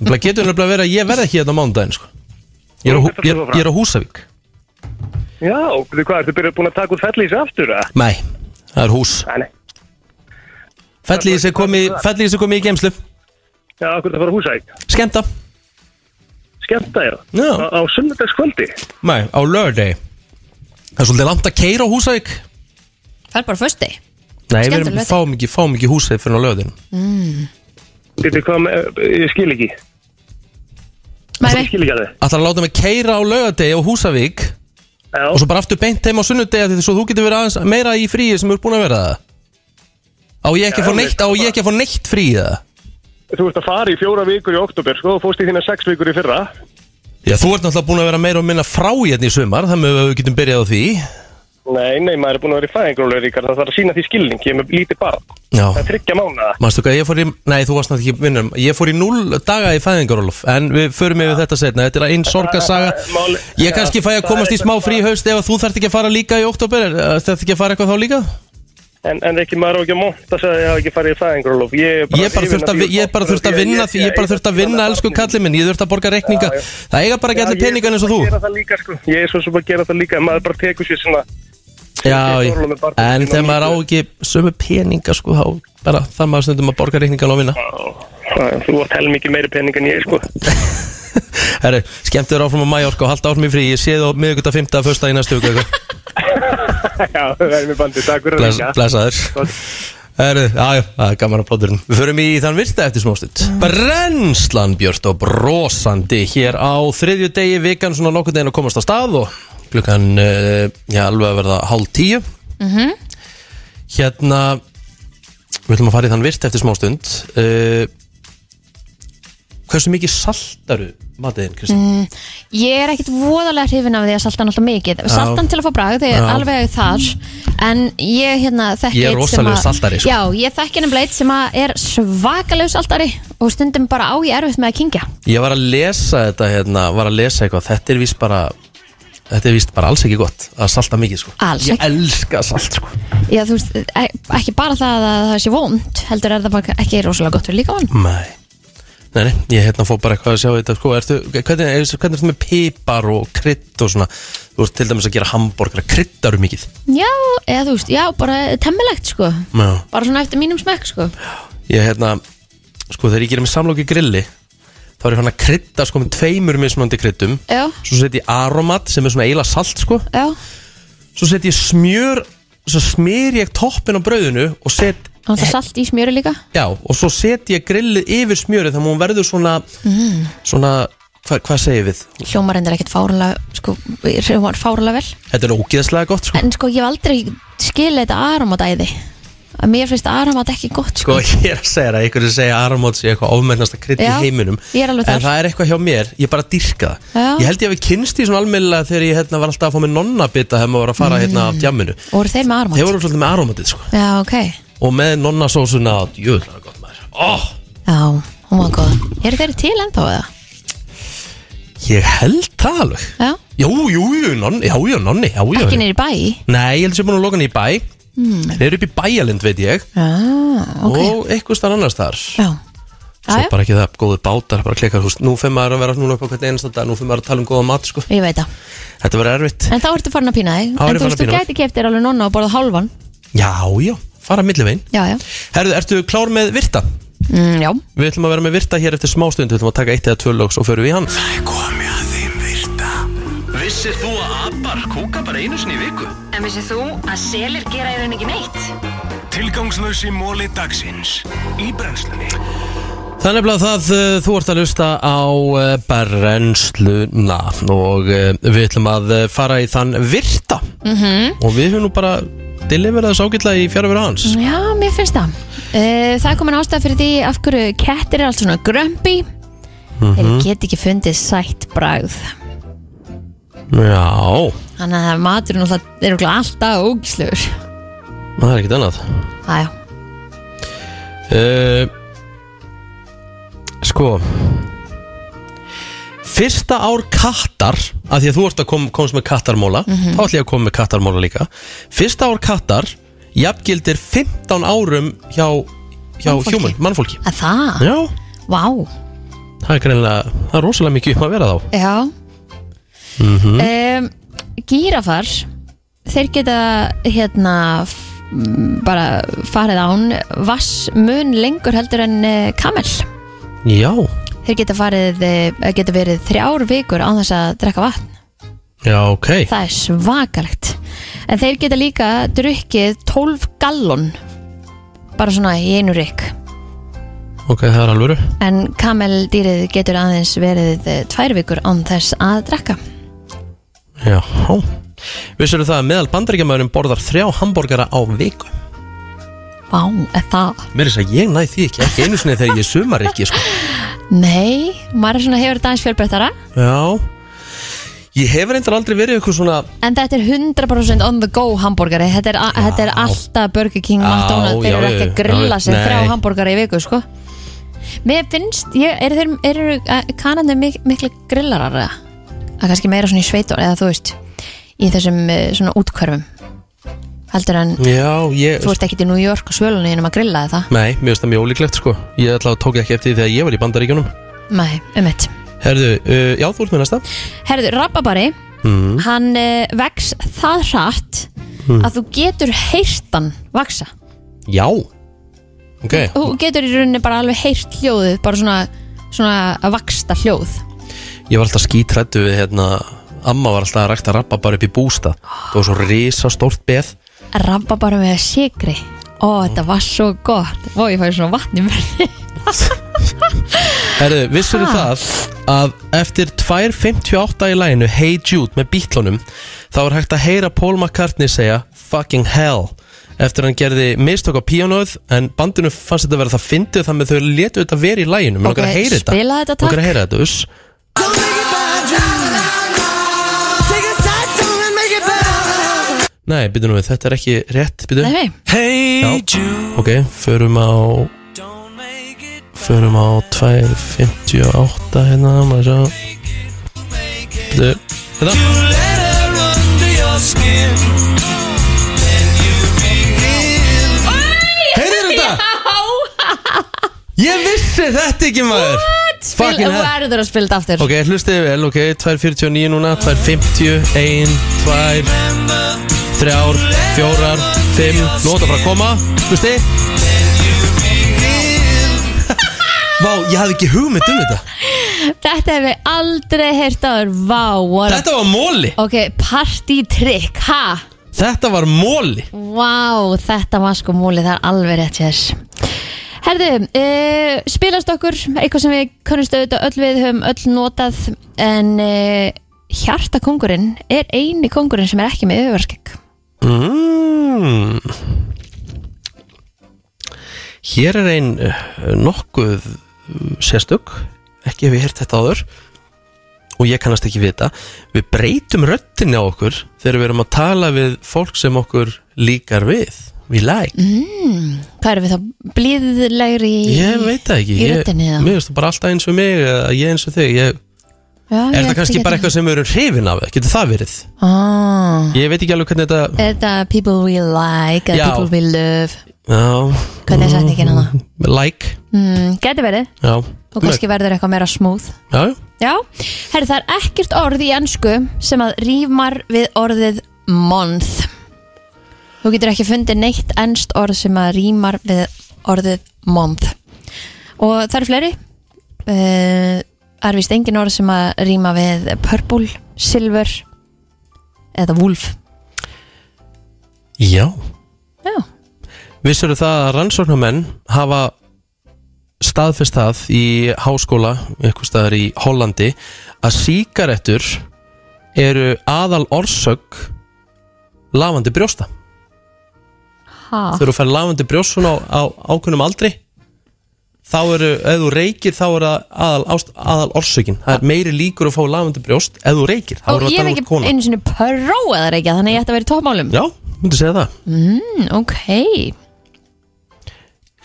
D: Það getur nefnilega verið að ég verð ekki hérna á mándaginn sko Ég er á, Hú- ég, er- ég er á Húsavík
N: Já, og þú hvað, ertu byrjuð búin að taka út fellísi aftur, eða?
D: Nei, það er hús Fellið sem komið Fellið sem komið í geimslu
N: Já, okkur það fara húsæk
D: Skemmta
N: Skemmta, já
D: Já.
N: Á, á sunnudagskvöldi
D: Nei, á lördegi Það er svolítið langt að keira á Húsavík
C: Það er bara fösti
D: Nei, við
C: Skemmtileg
D: erum-
C: laugardegi.
D: fáum ekki, fáum ekki Húsavík fyrir á lördeginu
C: mm.
N: Þetta er hvað með, ég skil ekki
C: Nei,
N: Ég skil ekki að þið
D: Ætlar að láta mig keira á lögadegi á Húsavík
N: Já.
D: Og svo bara aftur beint heim á sunnudegi Því svo þú getur verið aðeins meira í fríi sem er búin að vera það Á ég ekki að
N: Já,
D: fá
N: ég
D: neitt, á ég ekki að fá neitt frí í það
N: Þú ert að fara í fjóra vikur í oktober, sko og Fóst í þína sex vikur í fyrra
D: Já, þú ert náttúrulega búin að vera meira og minna frá hérna í sumar Þannig að við getum byrjað á því
N: Nei, nei, maður er búin að vera í fæðingrólu, Ríkar Það þarf að sína því skilning, ég er með lítið barn
D: Já
N: Það er tryggja mánuða
D: Manstu hvað, ég fór í, nei þú varst náttúrulega ekki vinnur Ég fór í null daga í fæðingarólf En við förum yfir þetta setna, þetta er einn sorgasaga
N: Máli-
D: Ég
N: Já,
D: kannski fæ að
N: það
D: komast
N: er
D: í smá frí í haust Ef að þú þarft ekki að fara líka í oktober er- er- Þarft ekki að fara eitthvað þá líka?
N: En, en ekki maður á ekki að móta sig að ég hafa ekki farið í fæðingrólf Ég er
D: Ég bara
N: hrifinn
D: þurft
N: af
D: að,
N: því
D: vi- ég bara þurft að vinna því- Ég bara þurft að vinna, elsku kallið minn Ég þurft að borga reikninga Það eiga bara ekki allir peningan eins og
N: Ég er svo sem að gera
D: þú
N: það líka, sko. Ég er svo sem að gera það líka Maður bara tekur sér svona
D: Já,
N: ég-
D: ég- en þegar maður á ekki sömu peninga sko Þá bara þarf maður stundum að borga reikninga og vinna
N: Æ, Þú átt hel mikið meiri pening en ég, sko
D: Herru, skemmt þér áfram á Mallorca og halda áfram í frí Ég sé þú miðugut að 5. að 1. í næstu viku eitthvað.
N: Já, það er mér bandið, takk fyrir
D: Bless,
N: Ríkja.
D: blessaður Herru, aðjó, það er gaman að plóturinn Við förum í þann virta eftir smástund Brennslan Björn og brosandi Hér á þriðju degi vikan Svona nokkuð deginn að komast á stað Og klukkan, uh, já, alveg að verða Hálf tíu
C: Mhm.
D: Hérna Við ætlum að fara í þann virta eftir smástund uh, Hversu mikið saltaru Matiðin, Kristján?
C: Mm, ég er ekkit voðalega hrifin af því að salta náttúrulega mikið
D: Já.
C: Saltan til að fá bragð, þegar
D: Já.
C: alveg þar En ég hérna þekki
D: Ég er
C: einn sem
D: rosalegur
C: að-
D: saltari, sko.
C: Já, ég þekki nefnilega eitt sem að er svakalegur saltari Og stundum bara á ég erfitt með að kingja
D: Ég var að lesa þetta hérna, var að lesa eitthvað, þetta er víst bara þetta er víst bara alls ekki gott að salta mikið sko.
C: Alls
D: Ég
C: ekki.
D: elska salt sko.
C: Já, þú veist, e- ekki bara það að það sé vond Heldur er það bara ekki rosalega gott fyrir líka vann
D: Nei, nei, nei, ég hérna fór bara eitthvað að sjá þetta sko, ertu, hvernig, er- hvernig ertu með pipar og krydd og svona þú ert til dæmis að gera hambúrgara, kryddaru mikið
C: Já, eða þú veist, já, bara temmilegt sko
D: Já.
C: Bara svona eftir mínum smekk sko
D: Ég hérna, sko þegar ég gerir mig samlóki grilli þá er ég hann að krydda sko með tveimur mismunandi kryddum
C: Já,
D: svo setjum ég aromat sem er svona eila salt sko
C: Já.
D: svo setjum ég smjör svo smyr ég toppin á brauðinu og set
C: og það salt í smjöri líka
D: já, og svo set ég grillið yfir smjörið þannig að hún verður svona
C: mm.
D: svona, hva, hvað segir við
C: Hljómar endur ekkit fárlega, sko, hljómar fárlega vel
D: þetta er ógeðslega gott sko
C: En sko ég hef aldrei skilið þetta aromatæði að mér finnst aromat ekki gott
D: Sko, ég er að segja það, einhverju segja að aromat sé eitthvað ofmennast að krydd í
C: Já,
D: heiminum
C: ég er
D: En
C: alveg þar.
D: það er eitthvað hjá mér, ég bara dýrka það
C: Já.
D: Ég held ég hafi kynst í svona almennilega þegar ég hérna, var alltaf að fá mig nonnabita þegar maður var að fara
C: Mm.
D: hérna af djamminu
C: og voru þeir með aromat
D: Þeir voru svolítið með aromatið sko
C: Já, ok,
D: Og með nonnasósuna, jöðlega gott maður oh,
C: já, hún var góð Eru þeir til ennþá eða?
D: Ég held það alveg
C: Já,
D: Jú, jú, jú, nonni, já, já, nonni, já, já
C: ekki niður í bæ
D: Nei, ég held að ég búin að loka hann í bæ
C: mm.
D: Þeir eru upp í bæjalind, veit ég
C: Já, ok
D: Og eitthvað starf annars þar
C: Já.
D: svo
C: Jæja.
D: bara ekki það, góður bátar, bara klikkar húst nú fyrir maður að vera núna upp á hvernig einasta dag nú fyrir maður að tala um góða mat sko
C: Ég veit það
D: þetta verður erfitt,
C: En þá ertu farin að pína þig
D: Þá er ég farin að
C: En þú veist, þú
D: pína mig.
C: gæti keftir alveg nonna og borða hálfan
D: já, já, fara millivegin
C: Já, já
D: herðu, ertu klár með virta?
C: mm, Já
D: Við ætlum að vera með virta hér eftir smástund Við ætlum að taka eitt eða tvö lögs og förum við í hann Það er komið að þeim virta
B: Vissir þú að abar kúka bara einu sinni í viku?
H: En vissið þú að selir gera í raun ekki neitt?
A: Tilgangslösi móli dagsins Í brennslunni
D: Það er nefnilega það, uh, þú ert að lusta á uh, brennsluna og uh, við ætlum að uh, fara í þann virta
C: Mhm.
D: og við höfum nú bara deliverað þess ágætlega í fjárfyrir hans
C: Já, mér finnst það uh, Það er komin ástæð fyrir því af hverju kettir er allt svona grömpi
D: mm
C: Þeir get ekki fundið sætt bragð
D: Já,
C: Þannig að maturinn náttúrulega- er örugglega alltaf ógislegur
D: það er ekkert annað
C: Æjá,
D: uh, Sko Fyrsta ár kattar að Því að þú ert að kom, komast með kattarmóla Þá ætlum ég að koma með kattarmóla líka Fyrsta ár kattar Jafngildir 15 árum hjá, hjá
C: Mannfólki.
D: human, mannfólki
C: að það?
D: Já
C: Vá,
D: Það er greinilega, það er rosalega mikið um að vera þá
C: já
D: mm
C: um, Gírafar Þeir geta hérna f- m, bara farið án vass mun lengur heldur en uh, kamel
D: Já,
C: Þeir geta, farið, eh, geta verið þrjár vikur án þess að drekka vatn
D: já, ok
C: Það er svakalegt En þeir geta líka drukkið 12 gallon Bara svona í einu rykk
D: Ok, það er alvöru
C: En kameldýrið getur aðeins verið eh, tvær vikur án þess að drekka
D: Já Vissirðu það að meðal bandaríkjamaðurinn borðar þrjá hambúrgara á viku
C: Vá, er það?
D: Mér er þess að ég næ því ekki, ekki einu sinni þegar ég sumar ekki sko.
C: Nei, maður er svona hefur þetta aðeins fjölbreyttara
D: Já Ég hef reyndar aldrei verið eitthvað svona
C: En þetta er 100% on the go hamburgari Þetta er, a- þetta er alltaf Burger King,
D: Já,
C: McDonald's Þeir
D: já,
C: eru ekki
D: já,
C: að grilla
D: já,
C: sig
D: nei.
C: þrjá hamburgari í viku sko. Mér finnst, ég, eru þeir eru eh, kanarnir mik miklu grillarar eða? að kannski meira svona í sveitur eða þú veist í þessum eh, svona útkörfum heldur en
D: Já, ég
C: þú ert ekki í New York og svölunni en um að grilla eða það
D: Nei, mér finnst það mjög ólíklegt sko Ég ætla að tók ekki eftir því þegar ég var í bandaríkjunum
C: Nei, um eitt
D: Herðu, uh, já, þú ert með næsta
C: Herðu, Rababari,
D: mm.
C: hann uh, vex það hratt
D: Mm.
C: að þú getur heyrt hann vaksa
D: Já Ok,
C: Þú getur í rauninni bara alveg heyrt hljóðið, bara svona, svona að vaksta hljóð.
D: ég var alltaf skítrættu við hérna Amma var alltaf að rækta rappa bara upp í bústað Það var svo risa stórt beð
C: Rabba bara með sigri. Ó, þetta var svo gott. Ó, ég fæði svona vatn í mörni.
D: Herðu, vissur
C: Ha?
D: það að eftir 2.58 í læginu Hey Jude með bítlunum þá er hægt að heyra Paul McCartney segja fucking hell eftir að hann gerði mistök á píanóð en bandinu fannst þetta að vera það fyndið þannig að þau letu þetta vera í læginu
C: Ok, spila þetta, takk.
D: Mér langar að heyra þetta, uss Nei, byrju nú við, þetta er ekki rétt, byrju
C: Nei, nei.
D: Hey Jude Ok, förum á Förum á 2.58 hérna, maður sjá Byrju, hérna Heyrðu þetta? Ég vissi þetta ekki maður Fucking
C: Þú
D: hell.
C: verður að spila þetta aftur.
D: Ok, hlustiði vel, ok, 2.49 núna, 2.50, 1, 2, 3, 4, 5, nota bara að koma, hlusti Vá, ég hafði ekki hugmynd um þetta
C: Þetta hef ég aldrei heyrt áður. Vá, what
D: Þetta var móli,
C: Ok, partytrykk, ha?
D: þetta var móli
C: Vá, þetta var sko múlið, það er alveg rétt hér. Herðu, uh, spilast okkur, eitthvað sem við kunnumst auðvitað öll við höfum öll notað, en uh, hjartakongurinn er eini kongurinn sem er ekki með yfirvarskegg.
D: mm. Hér er ein eh, nokkuð eh, sérstök, ekki hef ég hert þetta áður og ég kannast ekki við þetta við breytum röttinni á okkur þegar við erum að tala við fólk sem okkur líkar við við læk,
C: Mm, hvað erum við þá? Blíðlegri í...
D: ég veit það ekki
C: Í
D: ég,
C: röttinni eða?
D: mér finnst það bara alltaf eins og mig eða ég eins og þig ég,
C: Já,
D: er það kannski bara eitthvað sem við erum hrifin af getur það verið,
C: Ah,
D: ég veit ekki alveg hvernig þetta
C: þetta people we like, eða
D: Já.
C: people we love.
D: Já
C: Hvernig er setningin hana?
D: Like
C: Mm, geti verið
D: Já
C: og kannski verður eitthvað meira smooth
D: Já, já.
C: Já, herri það er ekkert orð í ennsku sem að rýmar við orðið month Þú getur ekki fundið neitt ennst orð sem að rýmar við orðið month og það eru fleiri uh, er vist engin orð sem að rýma við purple, silver eða wolf
D: Já
C: Já.
D: Vissur það að rannsóknarmenn hafa staðfest það í háskóla, eitthvað staðar í Hollandi, að síkarettur eru aðal orsök lafandi brjósta.
C: ha.
D: Þegar þú fær lafandi brjóst svona á, á ákunnum aldri, þá eru, ef þú reykir, þá er það aðal, ást- aðal orsökin. Það er meiri líkur að fá lafandi brjóst ef þú reykir. Þá
C: og
D: erum við að
C: ég hef
D: tala um
C: ekki
D: konu.
C: einu sinni prófað að reykja þannig að ég ætti að vera í tópmálum
D: Já, myndi segja það.
C: mm, Ok,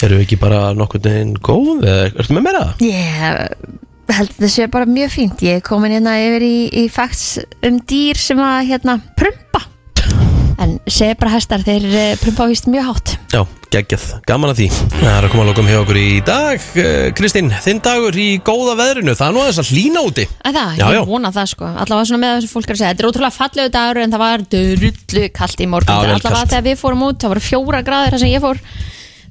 D: Eru við ekki bara nokkurn veginn góð? eða- Ertu með meira?
C: Ég held að þetta sé bara mjög fínt Ég er komin hérna yfir í, í facts um dýr sem að hérna prumpa En segja bara hestar, þeir eh, prumpa víst mjög hátt
D: Já, geggjað, gaman að því Það er að koma að lokum hjá okkur í dag Eh, Kristín, þinn dagur í góða veðrinu Það er nú aðeins að hlýna úti
C: Að það,
D: Já,
C: ég
D: já.
C: vona það sko Allavega svona með þessu fólk er að segja Þetta er ótrúlega fallegu dagur en það var drullu kallt í morgun
D: Já, vel
C: Allavega
D: kalt.
C: þegar við fórum út, það var fjóra gráður þar sem ég fór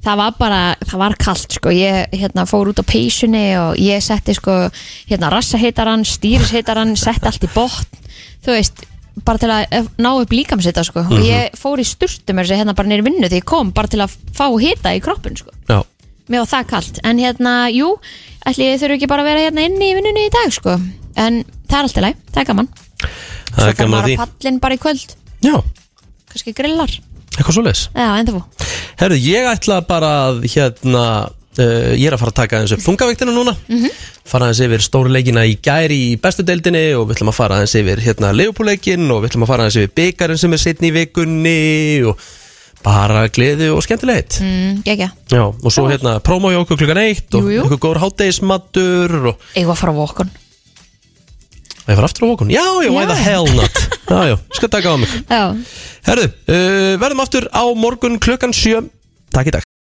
C: Það var bara, það var kallt sko Ég hérna fór út á peysunni og ég setti sko Hérna rassaheitaran, stýrisheitaran, setti allt í botn Þú veist, bara til að eh, ná upp líkamsita sko
D: Mhm.
C: Og ég fór í sturtum er þessi hérna bara neyri vinnu Því ég kom bara til að fá hita í kroppin sko
D: Já,
C: Mér var það kallt, en hérna, jú, ætli ég þurfi ekki bara að vera hérna inni í vinnunni í dag, sko. En það er allt í læg, það er gaman.
D: það er gaman að því
C: Bara pallin bara í kvöld.
D: Já.
C: Kanski grillar.
D: Eitthvað svo leis
C: Já, en þú.
D: Herðu, ég ætla bara að hérna uh, Ég er að fara að taka aðeins upp þungaviktina núna Fara aðeins yfir stóru leikina í gæri í bestu deildinni Og við ætlum að fara aðeins yfir hérna leifupúleikin Og við ætlum að fara aðeins yfir byggarinn sem er setni í vikunni Og bara gleði og skemmtilegt
C: Mm, Gekja.
D: Já, og svo hérna prómó hjá okkur klukkan eitt og
C: Jú, jú.
D: eitthvað góður hátegismattur og
C: Ég var að fara á vokun.
D: það var aftur á okkur. Já, já, why the hell not? Já, já, skal taka á mig.
C: Já.
D: Herðu, uh, verðum aftur á morgun klukkan sjö. Takk í dag.